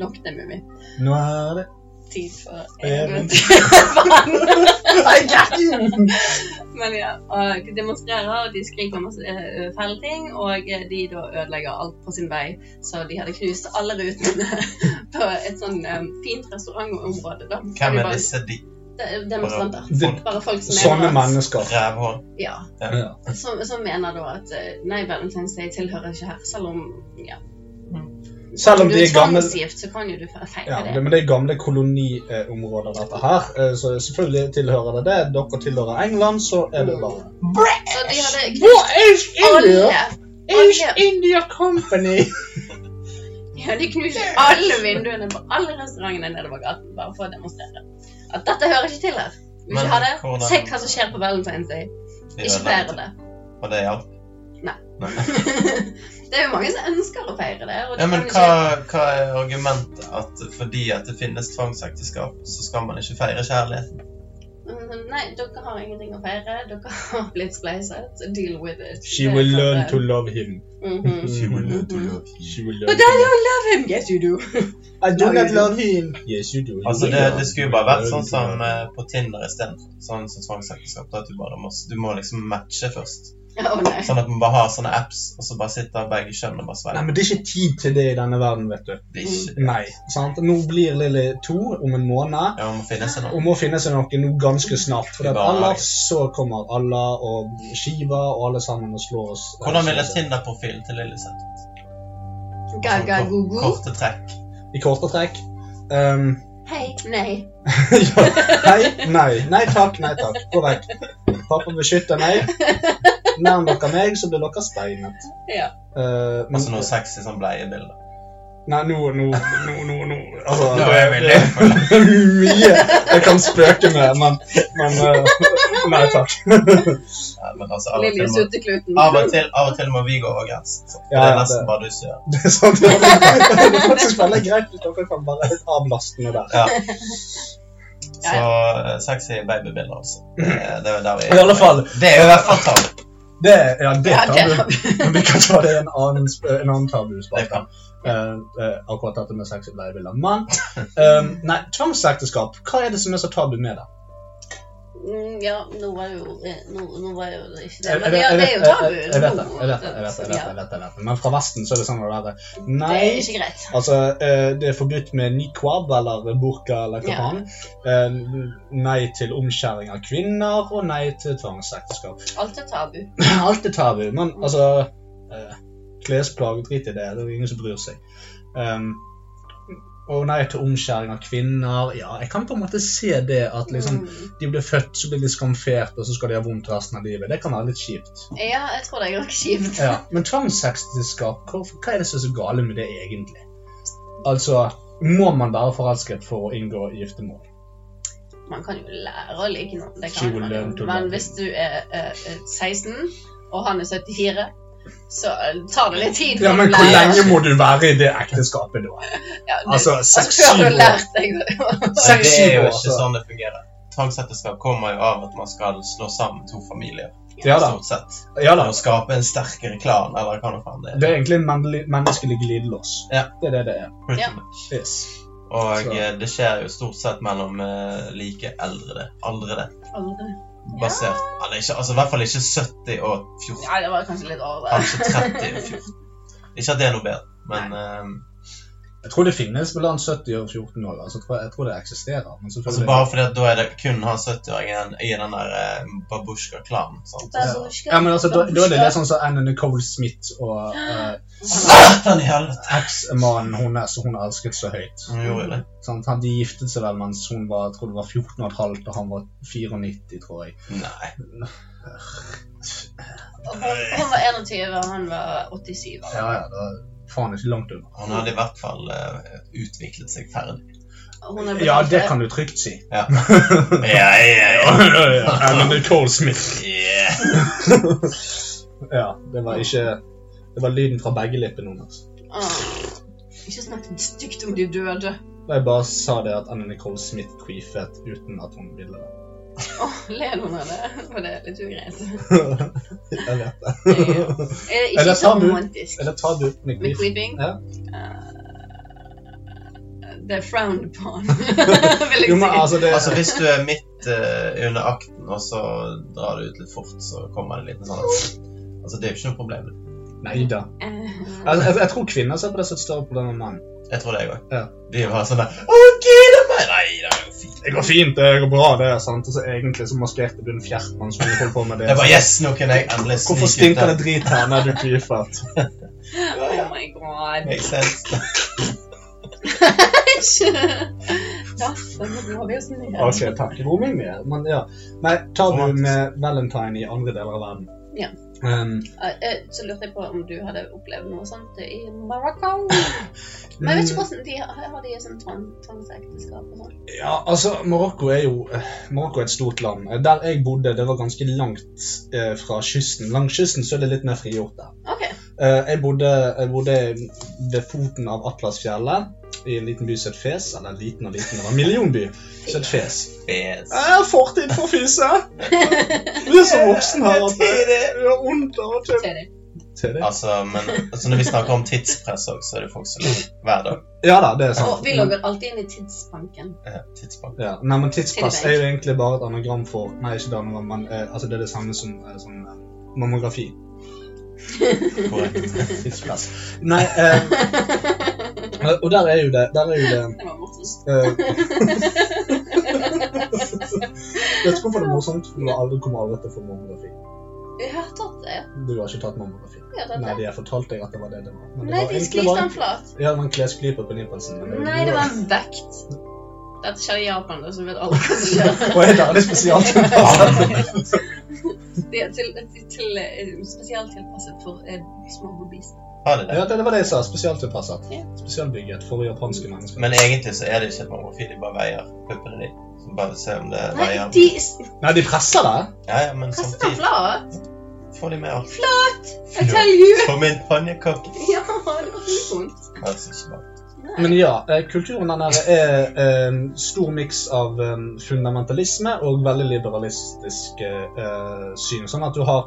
S2: Nok det, Mummi.
S1: Nå er (laughs) det
S2: Tid for
S1: Eventyr.
S2: eventyr.
S1: I got you!
S2: (laughs) Men ja, og de demonstrerer, og de skriker masse eh, fæle ting, og eh, de da ødelegger alt på sin vei. Så de hadde knust alle rutene (laughs) på et sånn eh, fint restaurantområde. da. Så
S3: Hvem
S2: de
S3: er
S2: bare-
S3: disse de
S2: de- Demonstranter.
S1: Det-
S2: Bare folk som
S1: Sånne
S2: mener at-
S1: mennesker.
S3: rævhår?
S2: Ja.
S1: Ja.
S2: Som, som mener da at eh, nei, Valentine's Day tilhører ikke her, selv om ja.
S1: Selv om
S2: du
S1: de
S2: er
S1: er gamle
S2: tvangsgift, så kan jo du fe- feire
S1: ja,
S2: det.
S1: det, men det er gamle koloniområder, dette her. Eh, Så selvfølgelig tilhører det det. Dere tilhører England, så er det bare
S2: Så de hadde
S1: Hva er
S2: knust alle
S1: East India Company!
S2: Ja, de knuser alle vinduene på alle restaurantene nede på gaten bare for å demonstrere at dette hører ikke til her. Vi vil
S3: Men
S2: ikke ha det.
S3: hvordan-
S2: Se hva som skjer på Valentine's Day.
S3: De
S2: Ikke
S3: ødelagte.
S2: feire det. (laughs)
S3: Og det hjalp.
S2: Nei.
S3: Nei.
S2: det er jo mange som ønsker å feire det. Og det
S3: Ja, men
S2: kan
S3: hva,
S2: ikke...
S3: hva er argumentet? At fordi at det finnes tvangsekteskap, så skal man ikke feire kjærligheten?
S2: Mm, Nei, dere har ingenting å feire. Dere har blitt spleiset. Deal with it. sånn
S1: She will learn to love him. (laughs)
S2: Mhm.
S1: She will
S2: learn to love
S1: She will learn
S2: But
S1: to
S2: I
S1: love him.
S2: don't love him! Yes, you do.
S1: I do
S2: do
S1: not
S2: not
S1: love him. Yes, you do.
S3: Altså, det, det skulle jo bare vært sånn som eh, på Tinder istedenfor. Sånn som tvangsekteskap. da At du bare må, du må liksom matche først.
S2: Å nei.
S3: Sånn at man bare har sånne apps, og så bare sitter begge kjønn og bare
S1: Nei,
S3: svelger.
S1: men Det er ikke tid til det i denne verden, vet du.
S3: Det er ikke
S1: Nei, sant? Nå blir Lilly to om en måned.
S3: Ja, man må finne seg noe.
S1: Hun må finne seg noe nå ganske snart. For at
S3: Bare-
S1: ellers så kommer Allah og Shiva og alle sammen og slår oss. eh,
S3: Hvordan ville Tinder-profilen til Lilly sett ut? Sånn
S2: Gaga
S3: kor-
S2: gogo.
S3: Korte trekk.
S1: I korte trekk. Um,
S2: Hei, nei.
S1: ja, (laughs) nei, nei. Nei takk, nei takk. Korrekt. Pappa beskytter meg. Nærm dere meg, så blir dere steinet.
S2: Ja.
S1: Eh, men,
S3: Altså noe sexy sånn bleiebilder.
S1: Nei, nå, nå, nå, nå, nå. Altså,
S3: Nå er vi
S1: (laughs) det
S3: litt
S1: er mye jeg kan spøke med, men, men eh, Nei takk.
S3: Ja, men altså, av og
S2: Lille
S3: til må-
S2: suttekluten.
S1: Ah,
S3: av og til- av og til må vi gå over grensen. så
S1: Ja,
S3: Det
S1: ja,
S3: er nesten
S1: det-
S3: bare du som gjør.
S1: Det er sant. (laughs) Det er faktisk veldig greit hvis dere kan bare avlaste med det.
S3: Så eh, sexy babybilder
S1: (laughs)
S3: også. Det det er jo der vi
S1: I alle fall.
S3: Det er jo i hvert fall tabu.
S1: Det, ja, det
S2: Ja,
S1: tar
S2: det-
S1: du. Men vi kan ta det i en annen, sp- en annen
S3: Det
S1: tabuspalte.
S3: kan.
S1: Eh, eh, akkurat dette med sex i bleiebilder. Men eh, nei, tvangsekteskap, hva er det som er så tabu med det?
S2: Mm, Ja, nå var det jo eh, Nå, nå var det jo ikke det.
S1: Jeg-
S2: Men
S1: jeg-
S2: ja, det er jo tabu.
S1: jeg- Jeg vet det,
S2: nå,
S1: jeg vet det. jeg vet det, jeg vet det, jeg
S2: ja.
S1: vet det, jeg vet det. Men fra Vesten så er det sånn å være
S2: Det
S1: Nei,
S2: er ikke greit.
S1: altså eh, det er forbudt med niqab eller burka eller hva
S2: Ja.
S1: faen. Eh, nei til omskjæring av kvinner, og nei til tvangsekteskap.
S2: Alt er tabu.
S1: (clears throat) Alt er tabu, men altså eh, Klesplagg, drit i det. Det er ingen som bryr seg. Um, og nei til omskjæring av kvinner. Ja, jeg kan på en måte se det at liksom
S2: Mm.
S1: de blir født, så blir de skamfert, og så skal de ha vondt resten av livet. Det kan være litt kjipt.
S2: Ja, jeg tror det er ganske kjipt.
S1: Ja. Men tvangsekteskap, hvor- hva er det som er så gale med det egentlig? Altså, må man være forelsket for å inngå giftermål?
S2: Man kan jo lære å like noen. Det
S1: She
S2: kan
S1: will
S2: man
S1: learn to
S2: jo.
S1: love
S2: Men hvis du er eh, eh, 16, og han er 74, så eh, tar det litt tid.
S1: Ja,
S2: å
S1: men hvor
S2: lære-
S1: lenge må du være i det ekteskapet da?
S2: ja, det- (laughs)
S1: Altså, seks,
S2: før du
S1: syv
S2: har
S1: år.
S2: lært deg å-
S3: Men det er jo
S1: Sexy
S3: ikke
S1: også.
S3: sånn det fungerer. Tvangsekteskap kommer jo av at man skal slå sammen to familier.
S1: Ja da.
S3: stort sett.
S1: Ja da.
S3: Og skape en sterkere klan, eller hva nå faen det er.
S1: Det er egentlig en mennelig- menneskelig glidelås.
S3: Ja.
S1: Det er det det er.
S3: Pretty
S2: Ja.
S3: much.
S1: Yes.
S3: Og
S1: Så-
S3: eh, det skjer jo stort sett mellom eh, like eldre. Aldrede.
S2: Aldri.
S3: Basert Eller ikke, altså i hvert fall ikke 70 og 14.
S2: Ja, det var kanskje litt over.
S3: Kanskje 30 og 14. Ikke at det er noe bedre, men eh,
S1: Jeg tror det finnes blant 70 og 14 år. Altså, jeg, tror, jeg tror det eksisterer. Men
S3: altså
S1: selvfølgelig
S3: bare fordi at da er det kun han 70-åringen i den der eh, babusjka-klanen. sant?
S2: Babushka.
S1: ja, men altså, da, da er det litt sånn som Anna Nicole Smith og eh,
S3: Satan i helvete!
S1: eksmannen hennes, som hun elsket så høyt.
S3: Hun gjorde det.
S1: Sant? han, de giftet seg vel mens hun var, jeg tror det var 14 og et halvt, og han var 94, tror jeg.
S3: Nei.
S2: Og Hun, hun var 21, og han var 87. var det?
S1: Ja, ja, det var faen ikke langt unna.
S3: Han hadde i hvert fall eh, utviklet seg
S1: (laughs)
S3: ferdig.
S2: Og Hun er
S1: Ja,
S2: betalt
S1: det
S2: for-
S1: kan du trygt si.
S3: Ja, ja,
S1: Anna Nicole Smith.
S3: Yeah.
S1: Ja, det var ikke Det var lyden fra begge lippene hennes.
S2: Åh. Ikke snakk stygt om de døde.
S1: Da jeg bare sa det at Anna Nicole Smith queefet uten at hun ville det.
S2: Åh, ler hun av det? For det er litt ugreit.
S1: (laughs) jeg vet det.
S2: Det er jo- er det
S1: Er
S2: ikke
S1: det
S2: så
S1: tabu?
S2: romantisk.
S1: Eller tar du med
S2: Med
S1: queef?
S2: creeping?
S1: Ja.
S2: Eh, det er frowned
S1: (laughs)
S2: upon, vil
S1: Jo,
S2: jeg
S1: men
S2: si.
S1: altså, det
S3: Altså, hvis du er midt eh, under akten, og så drar du ut litt fort, så kommer det en liten sånn Altså, det er jo ikke noe problem.
S1: Nei da.
S2: Eh,
S1: Altså, jeg, jeg tror kvinner ser på det som et større problem enn menn.
S3: Jeg tror det, jeg òg.
S1: Ja.
S3: De er bare sånn der Å, gud a meg! Nei, det er jo fint.
S1: Det går fint, det går bra, det. er sant? Og så egentlig så maskerte du en fjertmann som holdt på med
S3: Det er
S1: det.
S3: bare Yes, nå kan jeg endelig
S1: Hvorfor stinker det drit her når du queefet?
S2: Oh my god.
S3: Makes sense.
S2: Æsj! Da nå har vi oss ned.
S1: Ok, takk. Romming mer. Men ja. Nei, tar du
S3: Romantisk.
S1: med valentine i andre deler av verden?
S2: Ja.
S1: Ehm,
S2: Eh, eh, Så lurte jeg på om du hadde opplevd noe sånt i Marokko. Men jeg vet ikke hvordan de har, har de sånn tvang, tvangsekteskap og sånn.
S1: Ja, altså, Marokko er jo eh, Marokko er et stort land. Eh, Der jeg bodde, det var ganske langt eh, fra kysten. Langs kysten så er det litt mer frigjort der.
S2: OK.
S1: Eh, jeg, bodde, jeg bodde ved foten av Atlasfjellet, i en liten by som het Fes. Eller liten og liten, det var en millionby som het Fes.
S3: Fes.
S1: Jeg har fortid for fise! Du er så voksen her at Ah, det
S3: Tidlig.
S1: gjør vondt av og til.
S2: Ser de.
S1: Til det.
S3: Altså, men altså, når vi snakker om tidspress også, så er det folk som hver dag
S1: Ja da, det er sant.
S2: Og vi logger alltid inn i tidsbanken.
S3: eh, tidspress.
S1: Ja, nei, men tidspress er jo egentlig bare et anagram for Nei, ikke det anagram, men eh, altså det er det samme som, eh, som eh, mammografi.
S3: Korrekt.
S1: Tidspress. Nei,
S2: (laughs)
S1: eh, eh, og der er jo det Der er jo det
S2: Det var morsomt.
S1: eh, Vet du hvorfor det er morsomt? For Du har aldri kommet aldri til å få mammografi.
S2: Vi har tatt det. ja.
S1: Du har ikke tatt mammografi.
S2: Vi har tatt
S1: Nei,
S2: det.
S1: de har fortalt deg at det var det det var. Men det
S2: Nei,
S1: var
S2: de
S1: egentlig
S2: skviste
S1: bare-
S2: den flat.
S1: Ja, det var en klesklype på nippelsen. men
S2: Nei, det var en vekt. Dette skjer i Japan, da, så vet alle hva som
S1: (laughs)
S2: skjer.
S1: Og jeg er det
S2: (laughs)
S1: spesielt.
S2: De er til, til, til, eh, spesielt tilpasset for eh, små hobbies.
S3: Har de det?
S1: Ja, det det var det jeg sa. Spesialtilpasset.
S2: Ja.
S1: Spesialbygget for jampanske mennesker.
S3: Men egentlig så er det ikke et mammografi, de bare veier puppene dine. Så bare se om det
S2: Nei,
S3: veier.
S2: de
S1: Nei, de presser deg.
S3: Ja, ja, men
S2: kastet den
S3: samtidig
S2: flat.
S3: får de mer.
S2: I tell you. (laughs)
S3: Som en pannekake.
S2: Ja, det var litt vondt.
S3: Altså, ikke bare.
S2: Nei. (laughs)
S1: Men ja, eh, kulturen den her er eh, stor miks av eh, fundamentalisme og veldig liberalistisk eh, syn. Sånn at du har,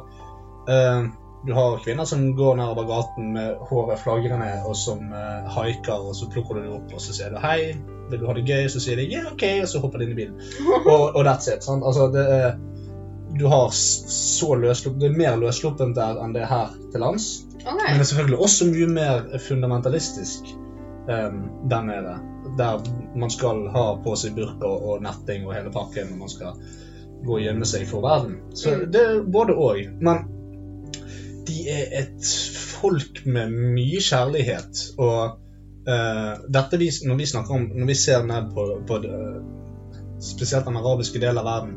S1: eh, du har kvinner som går nedover gaten med håret flagrende, og som eh, haiker, og så plukker du dem opp, og så sier du hei, vil du ha det gøy? Så sier de ja, ok, og så hopper de inn i bilen. Og, og that's it. sant? Altså, det er, du har s- så løsslupp- det er mer løssluppent der enn det er her til lands.
S2: Ok.
S1: Men det er selvfølgelig også mye mer fundamentalistisk um, der nede. Der man skal ha på seg burka og netting og hele pakken, og man skal gå og gjemme seg for verden. Så
S2: Mm.
S1: det er både òg. Men de er et folk med mye kjærlighet, og eh, dette vi, når vi snakker om Når vi ser ned på, på det, spesielt den arabiske delen av verden,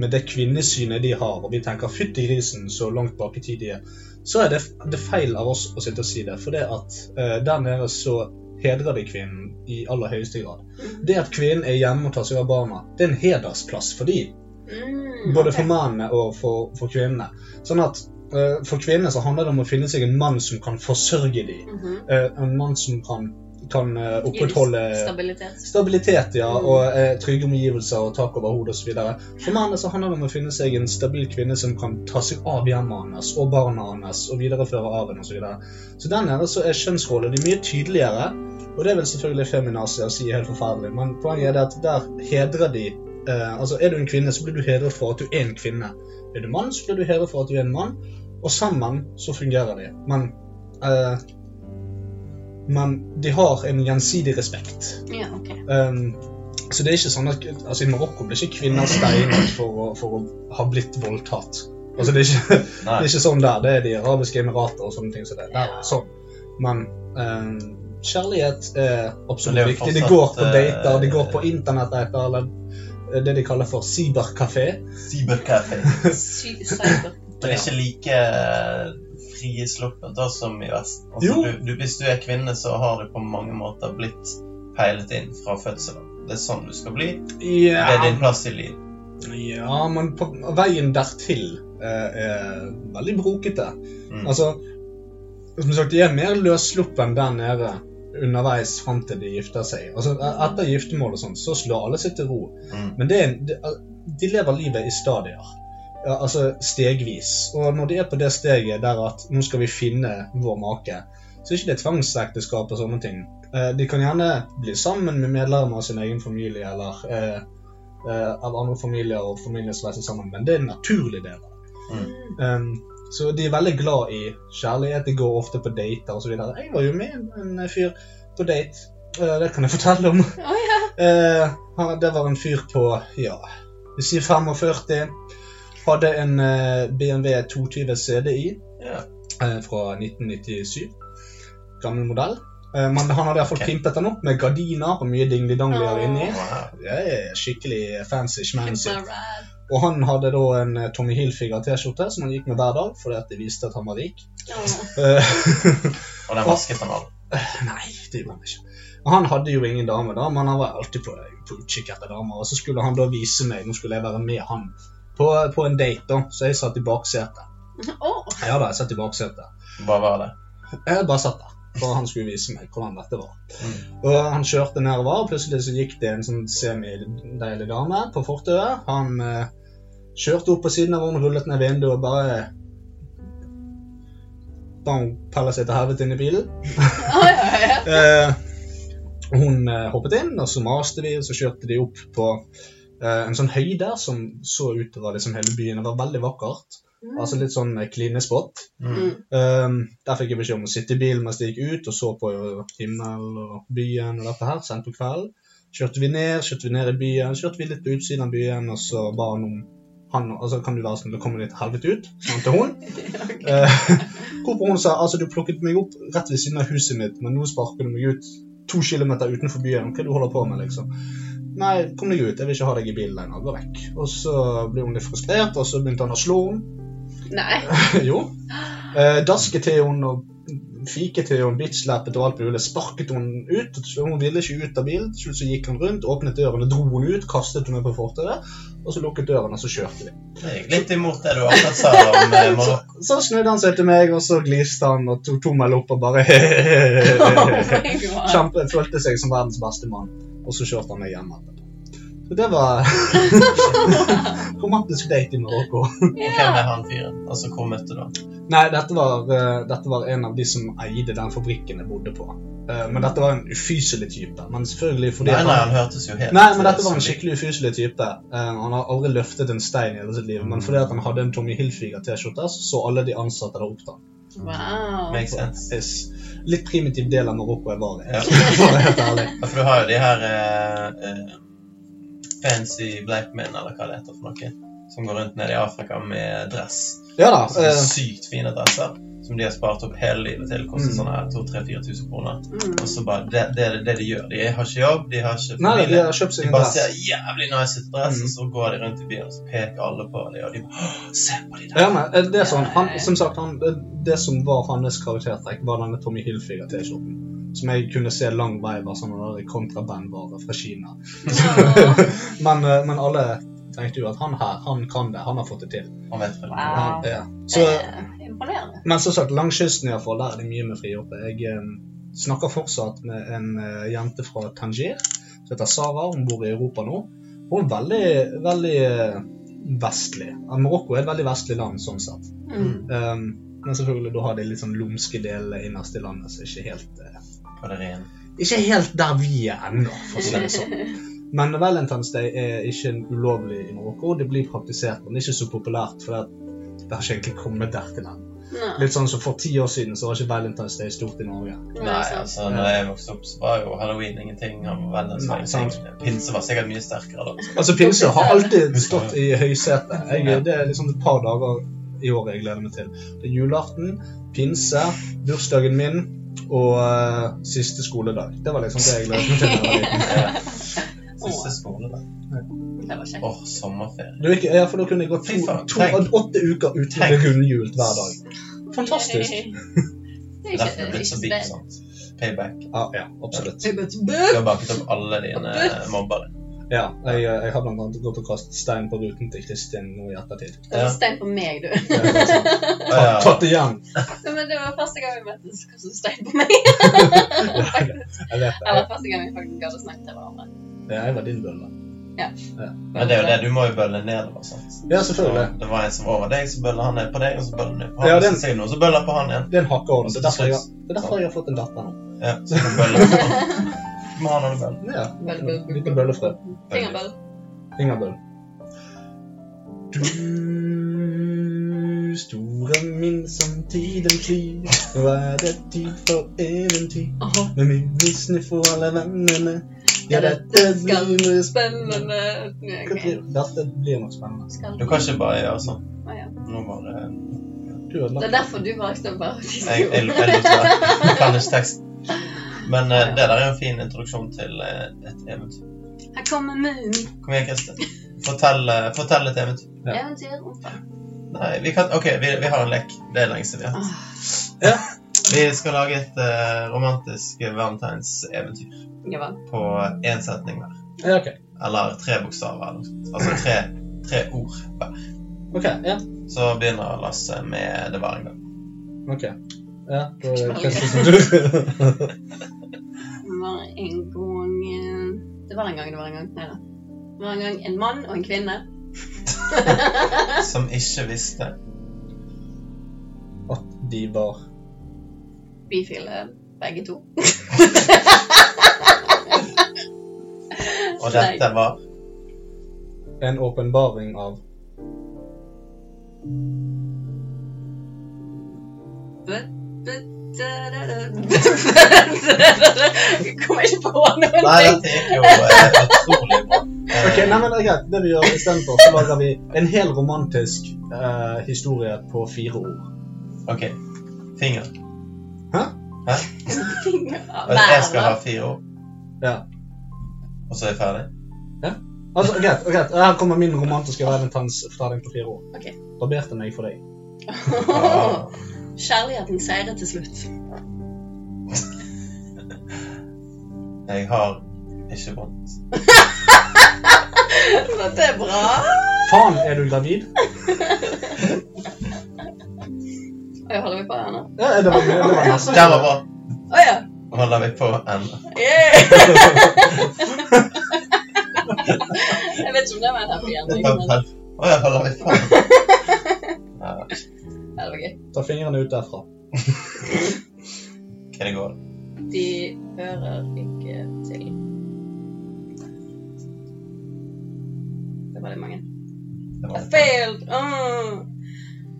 S1: med det kvinnesynet de har, og vi tenker 'fytti grisen' så langt bak i tid de er så er det, det er feil av oss å sitte og si det. For det at eh, der nede så hedrer de kvinnen i aller høyeste grad. Det at kvinnen er hjemme og tar seg av barna, det er en hedersplass for de.
S2: Mm,
S1: Både
S2: ok.
S1: for mennene og for, for kvinnene. Sånn at eh, for kvinnene så handler det om å finne seg en mann som kan forsørge dem. Eh,
S2: Mhm.
S1: en mann som kan, kan eh,
S2: Gi dem
S1: opprettholde
S2: Stabilitet.
S1: Stabilitet, ja,
S2: Mm.
S1: og eh, trygge omgivelser og tak over hodet osv. For mennene så handler det om å finne seg en stabil kvinne som kan ta seg av hjemmet hans og barna hans og videreføre arven osv. Så, videre. så der nede så er kjønnsroller de mye tydeligere, og det vil selvfølgelig feminazi si er helt forferdelig, men poenget er det at der hedrer de eh, Altså er du en kvinne, så blir du hedret for at du er en kvinne. Er du mann, så blir du hedret for at du er en mann, og sammen så fungerer de. Men eh, men de har en gjensidig respekt.
S2: Ja,
S1: (laughs)
S2: ok.
S1: Um, så det er ikke sånn at altså, I Marokko blir ikke kvinner steinet for å, for å ha blitt voldtatt. Altså, det, er ikke, (laughs) det
S3: Nei.
S1: er ikke sånn der. Det er de arabiske emirater og sånne ting. som det er der,
S2: Ja.
S1: sånn. Men um, kjærlighet er
S3: Men det er
S1: absolutt
S3: jo
S1: viktig. Det
S3: fortsatt,
S1: går på
S3: eh,
S1: dater, det går på internett etter eller det de kaller for cyberkafé.
S3: Cyberkaffe.
S2: Sy- cyber.
S3: Men det er ikke like frisluppet da som i Vesten. Altså,
S1: Jo.
S3: du, du, hvis du er kvinne, så har du på mange måter blitt peilet inn fra fødselen. Det er sånn du skal bli.
S1: Ja,
S3: Det er din plass i livet.
S1: ja men på, veien dertil eh, er veldig brokete.
S3: Mm.
S1: Altså, som sagt, de er mer løssluppen der nede underveis fram til de gifter seg. Altså, e- etter giftermål og sånn, så slår alle seg til ro.
S3: Mm.
S1: Men det er, en- det- al- de lever livet i stadier. Ja, altså stegvis. Og når de er på det steget der at nå skal vi finne vår make, så er ikke det tvangsekteskap og sånne ting. Eh, De kan gjerne bli sammen med medlemmer av sin egen familie eller eh, eh, av andre familier og familier som reiser sammen, men det er en naturlig del.
S2: Mm.
S1: Um, så de er veldig glad i kjærlighet. De går ofte på dater osv. Jeg var jo med en en fyr på date. Eh, det kan jeg (laughs) fortelle om.
S2: Å ja.
S1: Eh, han- det var en fyr på ja, vi sier 45. Hadde en eh, BMW 220 CDI
S3: Ja.
S1: eh, fra 1997. Gammel modell. Eh, men han hadde iallfall
S3: Ok.
S1: pimpet den opp med gardiner og mye dinglidangler
S2: Åh.
S1: inni.
S3: Wow.
S1: Ja, ja, ja, skikkelig fancy schmancy.
S2: Kimberad.
S1: Og han hadde da en eh, Tommy Hilfiger-T-skjorte som han gikk med hver dag, fordi at det viste at han var rik.
S2: Ja.
S1: Eh, (laughs)
S3: Og den vasket han all.
S1: Nei, det gjorde han ikke. Og Han hadde jo ingen dame da, men han var alltid på, på utkikk etter damer. Og så skulle han da vise meg, nå skulle jeg være med han på, på en date, da. Så jeg satt i baksetet.
S2: Å,
S1: Ja da, jeg satt i baksetet.
S3: Hva var det?
S1: Jeg bare satt der. For han skulle vise meg hvordan dette var.
S3: Mm.
S1: Og Han kjørte nedover, og plutselig så gikk det en sånn semideilig dame på fortauet. Han eh, kjørte opp på siden av henne, rullet ned vinduet og bare eh, Bang, peller seg til helvete inn i bilen.
S2: ja, ja, ja.
S1: Eh, hun eh, hoppet inn, og så maste vi, og så kjørte de opp på eh, en sånn høyde som så utover liksom hele byen. Det var veldig vakkert.
S2: Mm.
S1: Altså litt sånn eh, klinespot.
S3: Mm.
S2: Mm.
S1: Eh, der fikk jeg beskjed om å sitte i bilen mens de gikk ut og så på jo himmel og byen og dette her, sent på kvelden. Kjørte vi ned, kjørte vi ned i byen, kjørte vi litt på utsiden av byen, og så ba han om han, altså kan du være snill å komme ditt helvete ut, sa han til hun.
S2: Ok.
S1: Eh, Hvorpå hun sa altså du plukket meg opp rett ved siden av huset mitt, men nå sparker du meg ut to kilometer utenfor byen. Hva er det du holder på med, liksom? Nei, kom deg ut. Jeg vil ikke ha deg i bilen lenger. Gå vekk. Og så ble hun litt frustrert, og så begynte han å slå henne.
S3: (laughs)
S2: Nei.
S1: jo. Eh, dasket til henne og fiket til henne, bitchslappet og alt mulig. Sparket henne ut. Hun ville ikke ut av bilen. Til slutt så gikk han rundt, åpnet døren og dro henne ut. Kastet henne på fortauet. Og så lukket døren, og så kjørte de.
S3: Det gikk litt imot det du akkurat sa om (laughs) eh,
S1: Så,
S3: Marokko.
S1: så snudde han seg til meg, og så gliste han og tok tommel opp og bare (laughs)
S2: Oh my god.
S1: Kjempe, Følte seg som verdens beste mann. Og så kjørte han meg hjem etterpå. Så det var (laughs) romantisk date i Marokko.
S3: Og hvem er han fyren? Altså, hvor møtte du han?
S1: Nei, dette var, eh, dette var en av de som eide den fabrikken jeg bodde på. Eh, Men dette var en ufyselig type. Men selvfølgelig fordi
S3: Nei,
S1: at
S3: nei,
S1: han-
S3: han hørtes jo helt
S1: Nei, men dette var en
S3: skikkelig
S1: skikkelig ufyselig type. Eh, han har aldri løftet en stein i hele sitt liv. Men fordi at han hadde en Tommy Hilfiger-T-skjorte, så alle de ansatte der opp til han.
S2: Wow.
S3: Makes sense.
S1: Es, litt primitiv del av Marokko jeg var i. (laughs)
S3: Ja.
S1: For å være helt ærlig.
S3: Ja, For du har jo de her eh, eh, fancy black men, eller hva det heter for noe, som går rundt nede i Afrika med dress.
S1: Ja da. eh,
S3: Sånne sykt fine dresser som de har spart opp hele livet til. Koster
S1: Mm.
S3: sånn her 2000-4000 kroner.
S2: Mm.
S3: Og så bare, det, det er det de gjør. De har ikke jobb, de har ikke
S1: nei, de
S3: familie.
S1: har kjøpt seg
S3: De
S1: en
S3: bare
S1: dress.
S3: ser jævlig nice ut i dress,
S1: Mm.
S3: og så går de rundt i byen og så peker alle på dem, og de bare «Åh, Se på de der!
S1: Ja, men eh, det er sånn, han, som sagt, han, det- det som var hans karaktertrekk, var denne Tommy Hilfiger-T-skjorten. Som jeg kunne se lang vei var sånn der kontrabandvare fra Kina.
S3: (laughs)
S1: Men, eh, men alle tenkte jo at han her, han kan det. Han har fått det til.
S3: Han vet vel.
S2: Wow.
S1: Han, ja.
S2: Så,
S1: Så,
S2: imponerende.
S1: men som sagt, langs kysten i hvert fall, der er det mye med frihoppe. Jeg eh, snakker fortsatt med en eh, jente fra Tangier som heter Sara. Hun bor i Europa nå. Hun er veldig, veldig eh, vestlig. Ja, Marokko er et veldig vestlig land sånn sett.
S2: Mm.
S1: Um, men selvfølgelig, da har de litt sånn lumske deler innerst i landet, så ikke helt eh,
S3: På det rene.
S1: Ikke helt der vi er ennå, for å si det sånn. Men Valentine's Day er ikke en ulovlig i Marokko. Det blir praktisert, men ikke så populært, for det, det har ikke egentlig kommet dertil ennå.
S2: Nei,
S1: Litt sånn som For ti år siden så var ikke Valentine's Day stort i Norge.
S3: Nei,
S2: sant.
S3: altså, når jeg vokste opp, så var jo halloween ingenting. Han var veldig
S1: Nei,
S3: ingenting. Pinse var sikkert mye sterkere da.
S1: Altså Pinse har alltid stått i høysetet. Jeg- Det er liksom et par dager i året jeg gleder meg til. Det er julaften, pinse, bursdagen min og eh, siste skoledag. Det var liksom det jeg gledet meg til. da jeg var liten.
S3: Eh, Siste skole, da.
S2: Det var
S3: Åh,
S2: kjekt.
S3: sommerferie.
S1: Du, ikke, ja, for da kunne jeg gått to,
S3: Fy faen,
S1: to,
S3: tenk.
S1: åtte uker uten å bli rundhjult hver dag. Fantastisk.
S2: (laughs) Det
S3: Det
S2: er
S3: er derfor du
S2: ikke,
S3: er
S2: ikke
S3: blitt så
S2: så
S3: big,
S2: bad.
S3: sant? Payback.
S1: Ja, ja absolutt.
S3: Du har banket opp alle dine eh, mobbere.
S1: Ja, jeg, eh, jeg har blant annet gått og kastet stein på ruten til Kristin nå i
S3: (laughs)
S1: ettertid.
S2: Det var stein på meg, du. (laughs)
S1: Det er liksom-
S3: Ja, ja.
S1: Tatt igjen.
S2: Men det var første gang vi møttes, hva som stein på meg.
S1: Jeg vet det.
S2: Eller første gang vi faktisk gadd å snakke til hverandre.
S1: Jeg- Jeg var din bølle.
S3: Men det er jo det, du må jo bølle nedover, sant?
S1: Ja, selvfølgelig.
S3: Det var en som var over deg, så bøller han ned på deg, og så bøller han ned på
S1: Ja,
S3: han, og
S1: den-
S3: så sier noen, så bøller han på han igjen.
S1: Det er en hakkeorden.
S3: Og
S1: Det
S3: så
S1: er derfor jeg,
S3: til
S1: har-
S3: slutt,
S1: det er derfor jeg har fått en datter nå.
S3: ja, så kan bøller på han. Du må ha noen bøller.
S1: Ja,
S2: Bølle, bølle, bølle.
S1: Liten bøllefrø.
S2: Fingerbøll.
S1: Fingerbøll. Du store min som tiden flyr, nå er det tid for eventyr.
S2: Åh,
S1: Med munnvisene for alle vennene. Ja,
S2: Ja,
S1: dette
S2: dette skal
S1: blir noe spennende.
S2: Spennende. Ok.
S1: Dette blir nok spennende.
S2: Skal-
S3: Du kan ikke bare gjøre sånn.
S2: Å, ja.
S3: Nå bare...
S1: Du har
S2: Det er
S1: lagt
S2: derfor du valgte å bare
S3: Jeg, jeg, jeg, lot være. jeg kan ikke teksten. Men eh, det der er en fin introduksjon til eh, et eventyr.
S2: Her kommer Mumi.
S3: Kom igjen, Kristin. Fortell, eh, fortell et eventyr.
S1: Ja.
S2: Eventyr, omfang.
S3: Nei, vi kan Ok, vi, vi har en lek. Det er lenge siden vi har hatt.
S2: Ah,
S3: Vi skal lage et eh, romantisk valentinseventyr
S2: ja vel.
S3: på én setning hver.
S1: Ja, ok.
S3: Eller tre bokstaver. eller noe sånt. Altså tre, tre ord hver.
S1: Ok, ja.
S3: Så begynner Lasse med 'Det var en gang'.
S1: Ok. Ja, da er det Kristin som du.
S2: Det var en gang eh, Det var en gang, det var en gang. Nei da. Det var en gang en mann og en kvinne.
S3: Som ikke visste
S1: (laughs) At de var
S2: Bifile begge to.
S3: Og dette var
S1: en åpenbaring av
S2: Jeg (laughs) kommer ikke på noen
S3: Nei,
S2: ting.
S3: dette gikk jo eh, utrolig bra. Eh,
S1: Ok, nei, men det er greit. Det vi gjør istedenfor, så lager vi en hel romantisk eh, historie på fire ord.
S3: Eh, OK. Finger.
S2: Finger.
S3: Jeg skal ha fire ord,
S1: Ja.
S3: og så er jeg ferdig.
S1: Altså, greit, greit. Her kommer min romantiske valentins fra deg på fire ord.
S2: Ok.
S1: Barberte meg for deg.
S3: Ah.
S2: (laughs) Kjærligheten seirer til slutt. (laughs)
S3: Jeg har ikke vondt.
S2: Dette er bra.
S1: Faen, er du gravid?
S2: Oi, holder vi på her nå?
S1: Ja, det var, det
S3: (laughs)
S1: var nesten.
S3: Der var bra.
S2: Å ja.
S3: Holder vi på ennå? (laughs)
S2: Yay! (laughs) Jeg vet ikke om det var en happy ending, men ja,
S3: Å ja, holder vi på? Ja,
S2: det var gøy.
S1: Ta fingrene ut derfra.
S3: OK, det går.
S2: De hører ikke til. Det var litt mange. I
S3: Det var bra.
S2: failed! Åh.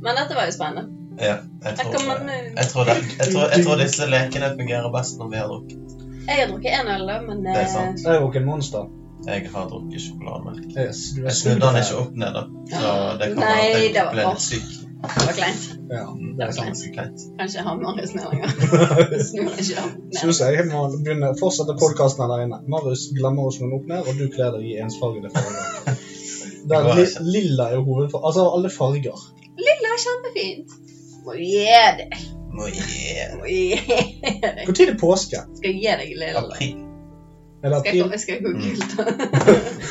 S2: Men dette var jo spennende.
S3: Ja, jeg
S2: Her
S3: tror,
S2: kommer
S3: jeg,
S2: nå.
S3: tror det. Jeg tror, jeg tror disse lekene fungerer best når vi har drukket.
S2: Jeg har drukket en øl, da, men
S3: Det er
S2: eh,
S3: sant.
S1: Jeg er jo ikke en monster.
S3: Jeg har drukket sjokolademelk.
S1: Yes, du er
S3: Jeg snudde den
S1: super.
S3: ikke opp ned, da. Så det kan
S2: Nei,
S3: være at
S2: det
S3: jeg
S2: var-
S3: ble litt syk.
S2: eh, det var kleint.
S1: Ja,
S3: Det
S1: det
S3: er
S1: er sant.
S3: ganske kleint.
S2: Kanskje han Marius ned
S3: (laughs)
S2: lenger. Snur han ikke han ned.
S1: Synes jeg må begynne fortsette podkasten alene. Marius glemmer oss noen opp ned, og du kler deg i ensfargede
S3: (laughs)
S1: farger. Der,
S3: går
S1: li,
S3: ikke.
S1: lilla er jo hovedfargen. Altså alle farger.
S2: Lilla, kjempefint. Må gi deg.
S3: Må gi
S2: Må gi deg.
S1: Når er det påske?
S2: Skal gi deg lilla.
S3: april.
S1: Er det
S2: Skal jeg
S1: april?
S2: komme, skal jeg gå
S3: Mm. (laughs)
S2: gult?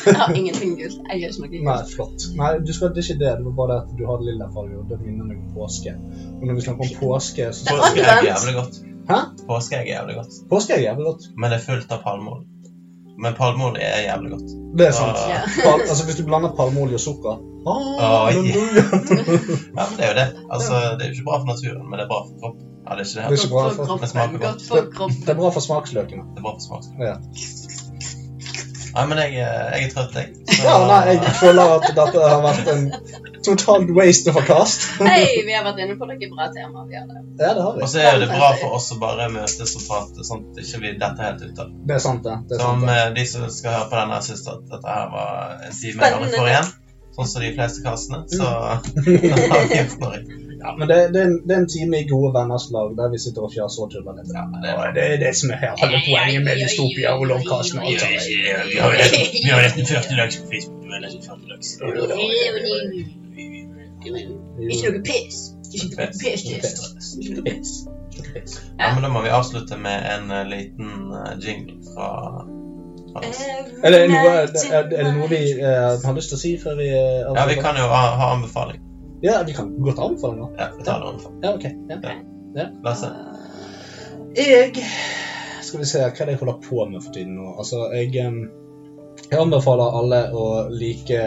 S2: jeg har ingenting gult. Jeg gjør ikke noe
S1: Nei, flott. Nei, du skal det er ikke det. Det var bare det at du hadde lilla farger, og det minner meg om påske. Og når vi snakker om påske, så
S2: Det er
S3: Påskeegg er
S2: advent.
S3: jævlig godt.
S1: Hæ?
S3: Påskeegg er jævlig godt.
S1: Påske er jævlig godt.
S3: Men det er fullt av palmeolje. Men palmeolje er jævlig godt.
S1: Det er sant.
S3: Ah.
S2: Ja.
S1: Pal, altså hvis du blander palmeolje og sukker ah,
S3: Oi.
S1: halleluja.
S3: Ja, men det er jo det. Altså, det er jo ikke bra for naturen, men det er bra for kroppen. Ja, det er
S1: Det er
S3: ikke det.
S2: Godt
S1: så bra
S2: for
S1: for-
S3: det smaker
S2: kroppen.
S3: godt.
S2: Godt for kroppen.
S1: Det er bra for smaksløkene.
S3: Det er bra for smaken.
S1: Ja.
S3: Nei, men jeg, er- jeg er trøtt, jeg. Så-
S1: Ja, nei, jeg føler at dette har vært en totalt waste of a cast. (laughs)
S2: Hei, vi har vært inne på noen bra temaer. Vi har det.
S1: Ja, det har vi.
S3: Og så er jo det bra for oss å bare møtes og prate, sånn at ikke vi detter helt ut av det.
S1: Det er sant, det. det er sant,
S3: Som
S1: det.
S3: eh, de som skal høre på denne, syns at dette her var en time jeg aldri
S2: Spennende.
S3: får igjen. Sånn som de fleste kastene. Så
S1: Mm.
S3: (laughs) da har vi gjort noe riktig.
S1: Ja, men det, det, er en, det er en time i gode venners lag der vi sitter og fjaser og tuller litt.
S3: det er-
S1: Og det er det som er her, hele poenget med dystopia og lovkasten. og alt sammen.
S3: Vi har nesten- vi har nesten 40 laks på Facebook. Vi har nesten 40 laks.
S2: Ikke noe piss. Ikke noe piss. kiss. Ikke noe piss.
S3: Ja, men da må vi avslutte med en eh, liten eh, jingle fra, fra
S2: Eh.
S3: oss.
S1: Er det noe, er, er det noe vi eh, har lyst til å si før vi eh,
S3: Ja, vi kan jo ha, ha anbefaling.
S1: Ja, vi kan godt anbefale noe.
S3: Ja, vi tar det anbefaling.
S1: Ja, ok. Ja. Altså.
S3: Lasse?
S1: Jeg Skal vi se hva er det jeg holder på med for tiden nå. Altså, jeg, em, jeg anbefaler alle å like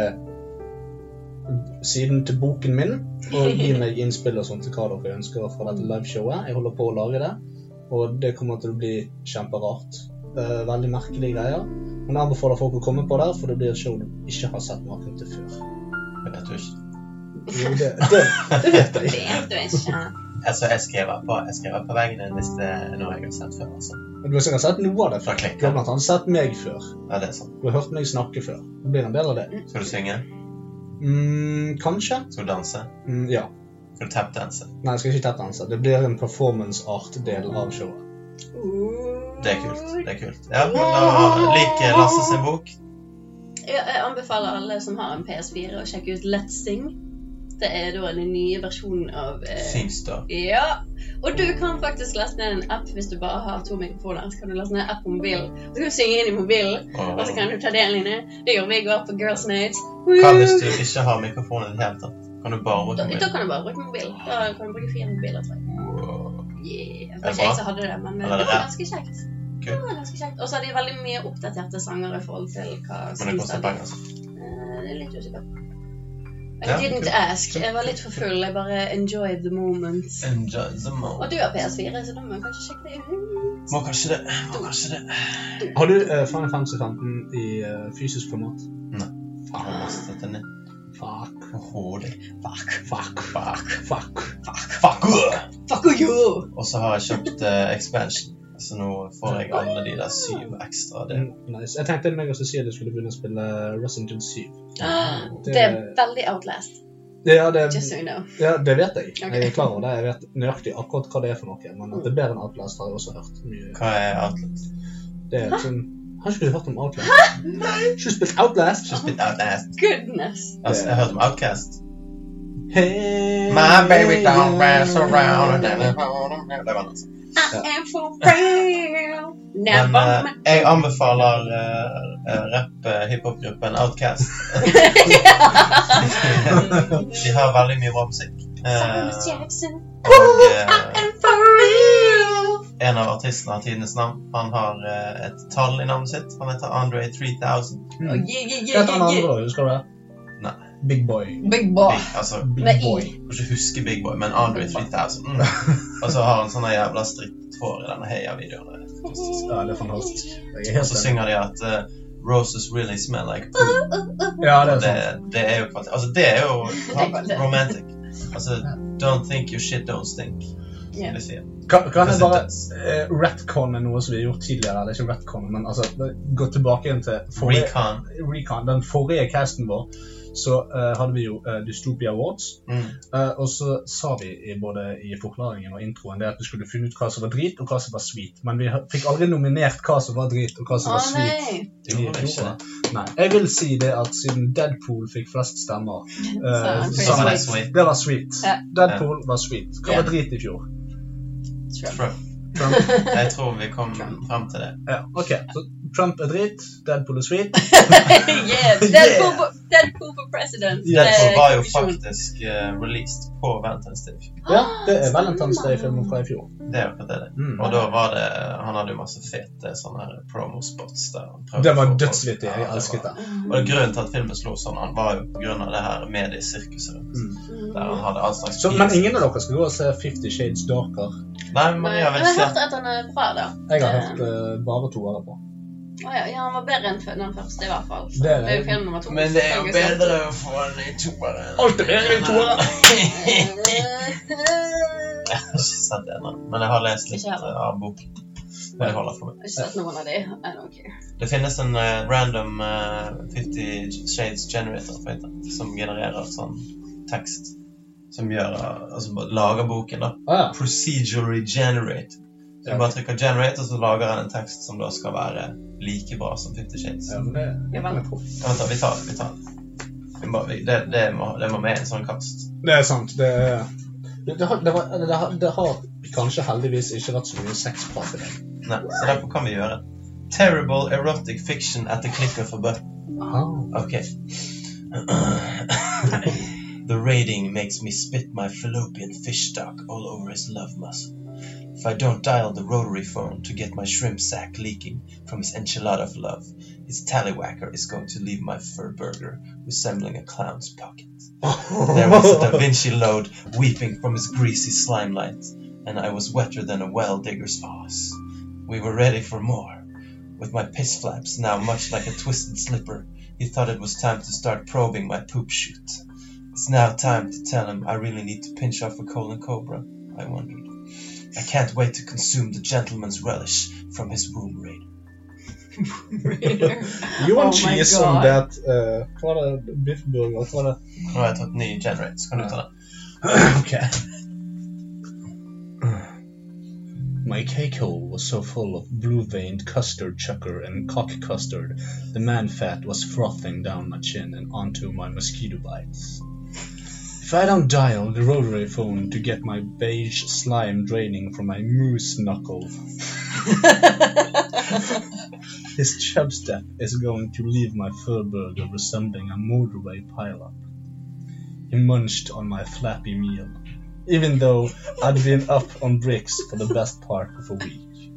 S1: siden til boken min, og gi meg innspill og sånt til hva dere ønsker fra dette liveshowet. Jeg holder på å lage det, og det kommer til å bli kjemperart. Eh, Veldig merkelige greier. Men jeg anbefaler folk å komme på der, for det blir et show du ikke har sett maken til før.
S3: Jeg vet jo ikke.
S1: Jo, det, det, det vet jeg.
S2: Vet du ikke.
S3: Altså, jeg skriver på, jeg skriver på veggen din hvis det er noe jeg har sett før. Altså.
S1: Men du har sikkert sett noe av det
S3: Da
S1: før. Du har
S3: klikker jeg.
S1: blant annet sett meg før.
S3: Ja, det er sånn.
S1: Du har hørt meg snakke før. Det blir en del av det.
S3: Skal du synge?
S1: Mm, kanskje.
S3: Skal du danse?
S1: Mm, ja.
S3: Skal du tapdanse?
S1: Nei, jeg skal ikke tapdanse. Det blir en performance art-del av showet.
S3: Det er kult. Det er kult. Ja, men da lik Lasse sin bok.
S2: Jeg, jeg anbefaler alle som har en PS4 å sjekke ut Let's Sing. Det er da den nye versjonen av eh,
S3: Singster.
S2: Ja! Og du kan faktisk laste ned en app hvis du bare har to mikrofoner. Så kan du laste ned en app på mobilen. Så kan du synge inn i mobilen, og så kan du ta del i det. Det gjorde vi i går på Girls Night.
S3: Hva hvis du ikke har mikrofonen i det hele tatt? Kan du bare
S2: da,
S3: bruke
S2: da kan du bare bruke mobil. Da kan du bruke fire mobiler, tror jeg.
S3: Wow.
S2: Yeah. Det
S3: bra.
S2: var ikke jeg som hadde det, men eh,
S3: Eller
S2: det
S3: det
S2: var
S3: er-
S2: ganske kjekt.
S3: Kult.
S2: Det var ganske kjekt. Og så har de veldig mye oppdaterte sanger i forhold til hva
S3: Men det koster penger, altså.
S2: Eh, det er litt usikker. I
S3: Ja,
S2: didn't
S3: kult.
S2: ask. Jeg var litt for full. Jeg bare enjoyed the moment.
S3: Enjoy the
S2: Og
S3: moment.
S2: du har PS4, så da må jeg kanskje sjekke det ut.
S3: Må kanskje det. Må kanskje det.
S1: Har du eh, Final Fantasy 15 i eh, fysisk format?
S3: Faen, jeg må sette ned
S1: Fuck.
S3: på hodet.
S1: Fuck. Fuck. Fuck. Fuck.
S3: Fuck you!
S2: Fuck you!
S3: Og så har jeg kjøpt eh, expansion. Så nå får jeg alle de der syv ekstra. Det.
S1: Nice. Jeg tenkte meg og Cecilie skulle begynne å spille Resident Evil 7.
S2: Ah,
S1: Det-
S2: Det er veldig outlast.
S1: Ja, det,
S2: Just so you know.
S1: ja, det vet jeg. Jeg
S2: Ok.
S1: er klar over det. Jeg vet nøyaktig akkurat hva det er for noe. Men at det er bedre enn Outlast har jeg også hørt mye.
S3: Hva er Outlast?
S1: Det er sånn... Har ikke du hørt om Outlast? Nei! Ikke du spilt Outlast?
S3: Ikke spilt Outlast.
S2: Goodness.
S3: Altså, jeg hørte om Outcast.
S1: Hey. Hmm.
S3: My baby don't mess around. Det var den, altså.
S2: I am for real. Never
S3: Men eh,
S2: mind.
S3: jeg anbefaler uh, rapp-hiphop-gruppen (laughs) Outcast. De har veldig mye bra musikk. Eh,
S2: Thomas Jackson.
S3: og eh,
S2: I am for real.
S3: en av artistene har tidenes navn. Han har eh, et tall i navnet sitt. Han heter Andre
S2: Oh,
S3: 3000.
S2: yeah, yeah,
S1: Hva
S2: yeah,
S1: heter han
S2: yeah,
S1: andre
S2: yeah.
S1: da? Husker du det?
S3: Nei.
S1: Big Boy.
S2: Big (laughs) boy.
S3: Big, altså,
S1: Big
S2: Med i.
S1: Boy.
S3: jeg kan ikke huske Big Boy, men Andre 3000.
S1: (laughs)
S3: Mm. Og så har han sånne jævla stritt hår i denne Heia-videoen. Det er fantastisk.
S1: Ja, det er
S2: (laughs)
S1: fantastisk. Jeg er
S3: Og
S1: helt
S3: så
S1: enig.
S3: synger de at eh, Roses really smell like poo.
S1: Ja, det er
S3: det,
S1: sant.
S3: det er jo kvalitet. Altså, det er jo
S2: kvalitet.
S3: romantic. Altså, don't think your shit don't stink.
S2: Ja.
S3: vil jeg si.
S1: Kan, kan jeg bare
S3: Presentas.
S1: uh, retconne noe som vi har gjort tidligere? Eller ikke retconne, men altså, gå tilbake igjen til forrige,
S3: Recon.
S1: recon, den forrige casten vår. Så eh, hadde vi jo eh, Dystopia Awards.
S3: Mm.
S1: Eh, og så sa vi i, både i forklaringen og introen det at vi skulle finne ut hva som var drit og hva som var sweet. Men vi har- fikk aldri nominert hva som var drit og hva som
S2: Å
S1: var sweet.
S2: nei.
S3: Det gjorde vi ikke.
S1: Nei, jeg vil si det at siden Deadpool fikk flest stemmer, eh,
S2: Så
S3: Så var det
S1: sammen-
S3: sweet.
S1: det var sweet.
S2: Ja.
S1: Deadpool var sweet. Hva var drit i fjor?
S2: Trump.
S3: Trump.
S1: Trump.
S3: (laughs) Jeg tror vi kom
S2: Trump.
S3: frem til det.
S1: Ja, ok. Så Trump er drit, Deadpool er
S2: (gasps)
S1: sweet.
S2: yeah, Deadpool, for, Deadpool for president.
S3: Deadpool
S2: Eh,
S3: var jo
S2: konklusjon.
S3: faktisk eh, released på Valentine's Day. i fjor.
S1: Ja, det er Valentine's Day-filmen fra i fjor.
S3: Det er jo akkurat det.
S1: Mm.
S3: Og da var det Han hadde jo masse fete sånne her promospots der. han prøvde
S1: Det var
S3: å få folk-
S1: dødsvittig.
S3: Ja,
S1: Jeg
S3: det
S1: elsket
S3: var-
S1: det.
S2: Mm.
S3: Og grunnen til at filmen slo sånn, han var jo på grunn av det her mediesirkuset.
S1: Mm.
S2: Mm.
S3: Der han hadde all slags
S1: Så, men
S3: bias.
S1: ingen av dere skal gå og se Fifty Shades Darker.
S3: Nei, men jeg har
S2: Men
S3: vel
S2: jeg
S3: sett
S2: hørte at han er bra, da.
S1: Jeg har hørt eh, bare toere på.
S2: Å ja, ja, han var bedre enn f- den første, i hvert fall. Så
S1: Det er det.
S2: jo film nummer to.
S3: Men det er jo
S2: August. (laughs)
S3: bedre å få den i toeren.
S1: Alt er bedre i toeren.
S2: Eh,
S3: Jeg har ikke sett det ennå, men jeg har lest litt
S2: Ikke jeg heller.
S3: eh, av boken. Men det holder for meg.
S2: Jeg har ikke sett noen av de. I don't care.
S3: Det finnes en eh, random eh, 50 Shades Generator på internett som genererer sånn tekst. Som gjør, eh, altså bare lager boken, da.
S1: Ah, ja.
S3: Procedurally generate. Så
S1: Ja.
S3: du bare trykker generate, og så lager han en tekst som da skal være like bra som 50 Shades.
S1: Ja, men det, det kan jeg tro.
S3: Ja, Vent, da. Vi tar det. Vi tar det. Vi må, vi, det, det, må, det må med i en sånn kast.
S1: Det er sant. Det, er- det, det, har, det, var, det, har, det har kanskje heldigvis ikke vært så mye sexprat i dag.
S3: Nei, så derfor kan vi gjøre Terrible erotic fiction at the click of a button. Ok. (coughs) the rating makes me spit my fallopian fish stock all over his love muscle. If I don't dial the rotary phone to get my shrimp sack leaking from his enchilada of love, his tallywhacker is going to leave my fur burger resembling a clown's pocket. There was
S1: (laughs)
S3: a Da Vinci load weeping from his greasy slime light, and I was wetter than a well digger's ass. We were ready for more. With my piss flaps now much like a twisted slipper, he thought it was time to start probing my poop chute. It's now time to tell him I really need to pinch off a colon cobra, I wondered. I can't wait to consume the gentleman's relish from his womb raid.
S1: Johan
S2: Oh my
S1: Cheese
S2: God.
S1: om det at eh, Hva var det? Biffburger? Hva var det?
S3: Nå har jeg tatt ny generate, så kan du ta den.
S1: Ok. My cake hole was so full of blue veined custard chucker and cock custard, the man fat was frothing down my chin and onto my mosquito bites. If I don't dial the rotary phone to get my beige slime draining from my moose knuckle, his chub step is going to leave my fur burger resembling a motorway pileup. He munched on my flappy meal, even though I'd been up on bricks for the best part of a week.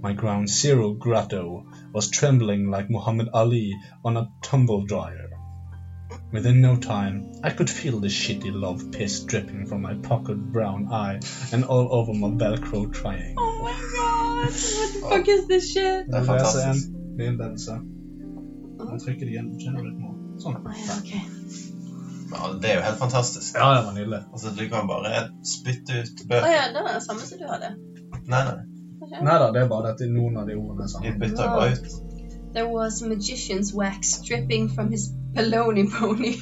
S1: My ground zero grotto was trembling like Muhammad Ali on a tumble dryer. Within no time, I could feel the shitty love piss dripping from my puckered brown eye and all over my Velcro triangle.
S2: Oh my god! What the fuck is this shit?
S3: Det er fantastisk.
S1: Det er en lense. Han trykker det igjen. Kjenner litt nå. Sånn.
S2: Å ja, ok.
S3: Ja, det er jo helt fantastisk.
S1: Ja, det var nydelig.
S3: Altså, du kan bare spytte ut
S2: Å
S3: bøker.
S2: ja, Oh, det var det samme som du hadde.
S3: Nei, nei.
S2: Ok.
S1: Nei da, det er bare dette noen av de ordene er
S3: De
S1: sammen.
S3: bytter jo bare ut.
S2: There was magician's wax dripping from his baloney pony.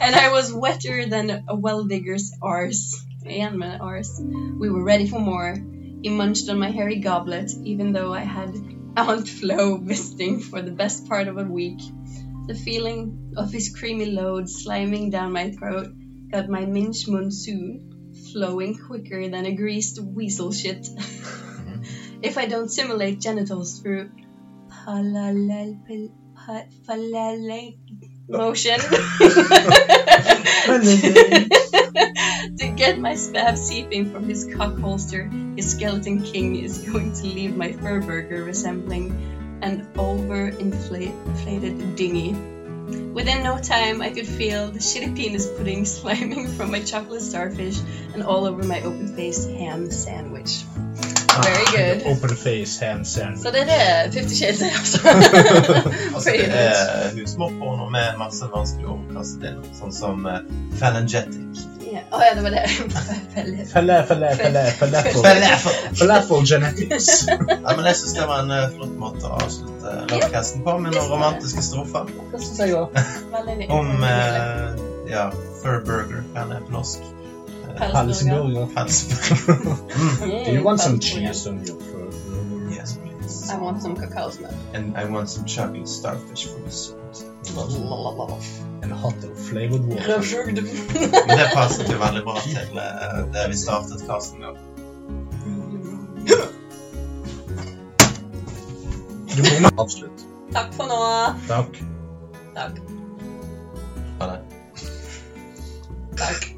S2: and I was wetter than a well digger's arse. Again, my arse. We were ready for more. He munched on my hairy goblet, even though I had Aunt Flo visiting for the best part of a week. The feeling of his creamy load sliming down my throat got my minch monsoon flowing quicker than a greased weasel shit. (laughs) if I don't simulate genitals through parallel pa- parallel motion (laughs) to get my spab seeping from his cock holster, his skeleton king is going to leave my fur burger resembling an overinflated dinghy. Within no time, I could feel the shitty penis pudding (laughs) sliming from my chocolate starfish and all over my open-faced ham sandwich. Very good.
S1: Open face, hand
S2: Så
S1: sandwich.
S2: det er det Fifty Shades er, altså.
S3: Altså,
S2: Pretty
S3: det
S2: much.
S3: er husmorporno med masse vanskelige ord kastet inn, sånn som uh, phalangetic.
S2: Ja. Å ja, det var det. Veldig.
S1: Felle, felle, felle, falafel.
S3: Falafel!
S1: Falafel genetics.
S3: Nei, men jeg synes det var en eh, flott måte å avslutte lovcasten på, med noen romantiske strofer
S1: Det synes jeg òg.
S2: Veldig.
S3: om eh, ja, fur burger, hva er det på norsk? (laughs)
S1: Halsenburger.
S3: Pelsburger. mm.
S1: Do you want some
S2: Mm,
S1: cheese on your fur?
S3: Yes, please.
S2: I want some cacao smell.
S3: And I want some chocolate starfish for dessert.
S1: And hot dog flavored water.
S2: Røvsugd.
S3: Men det passet jo veldig bra til eh, det vi startet casten med.
S1: Du må avslutte.
S2: Takk for nå.
S1: Takk.
S2: Takk.
S3: Ha det.
S2: Takk.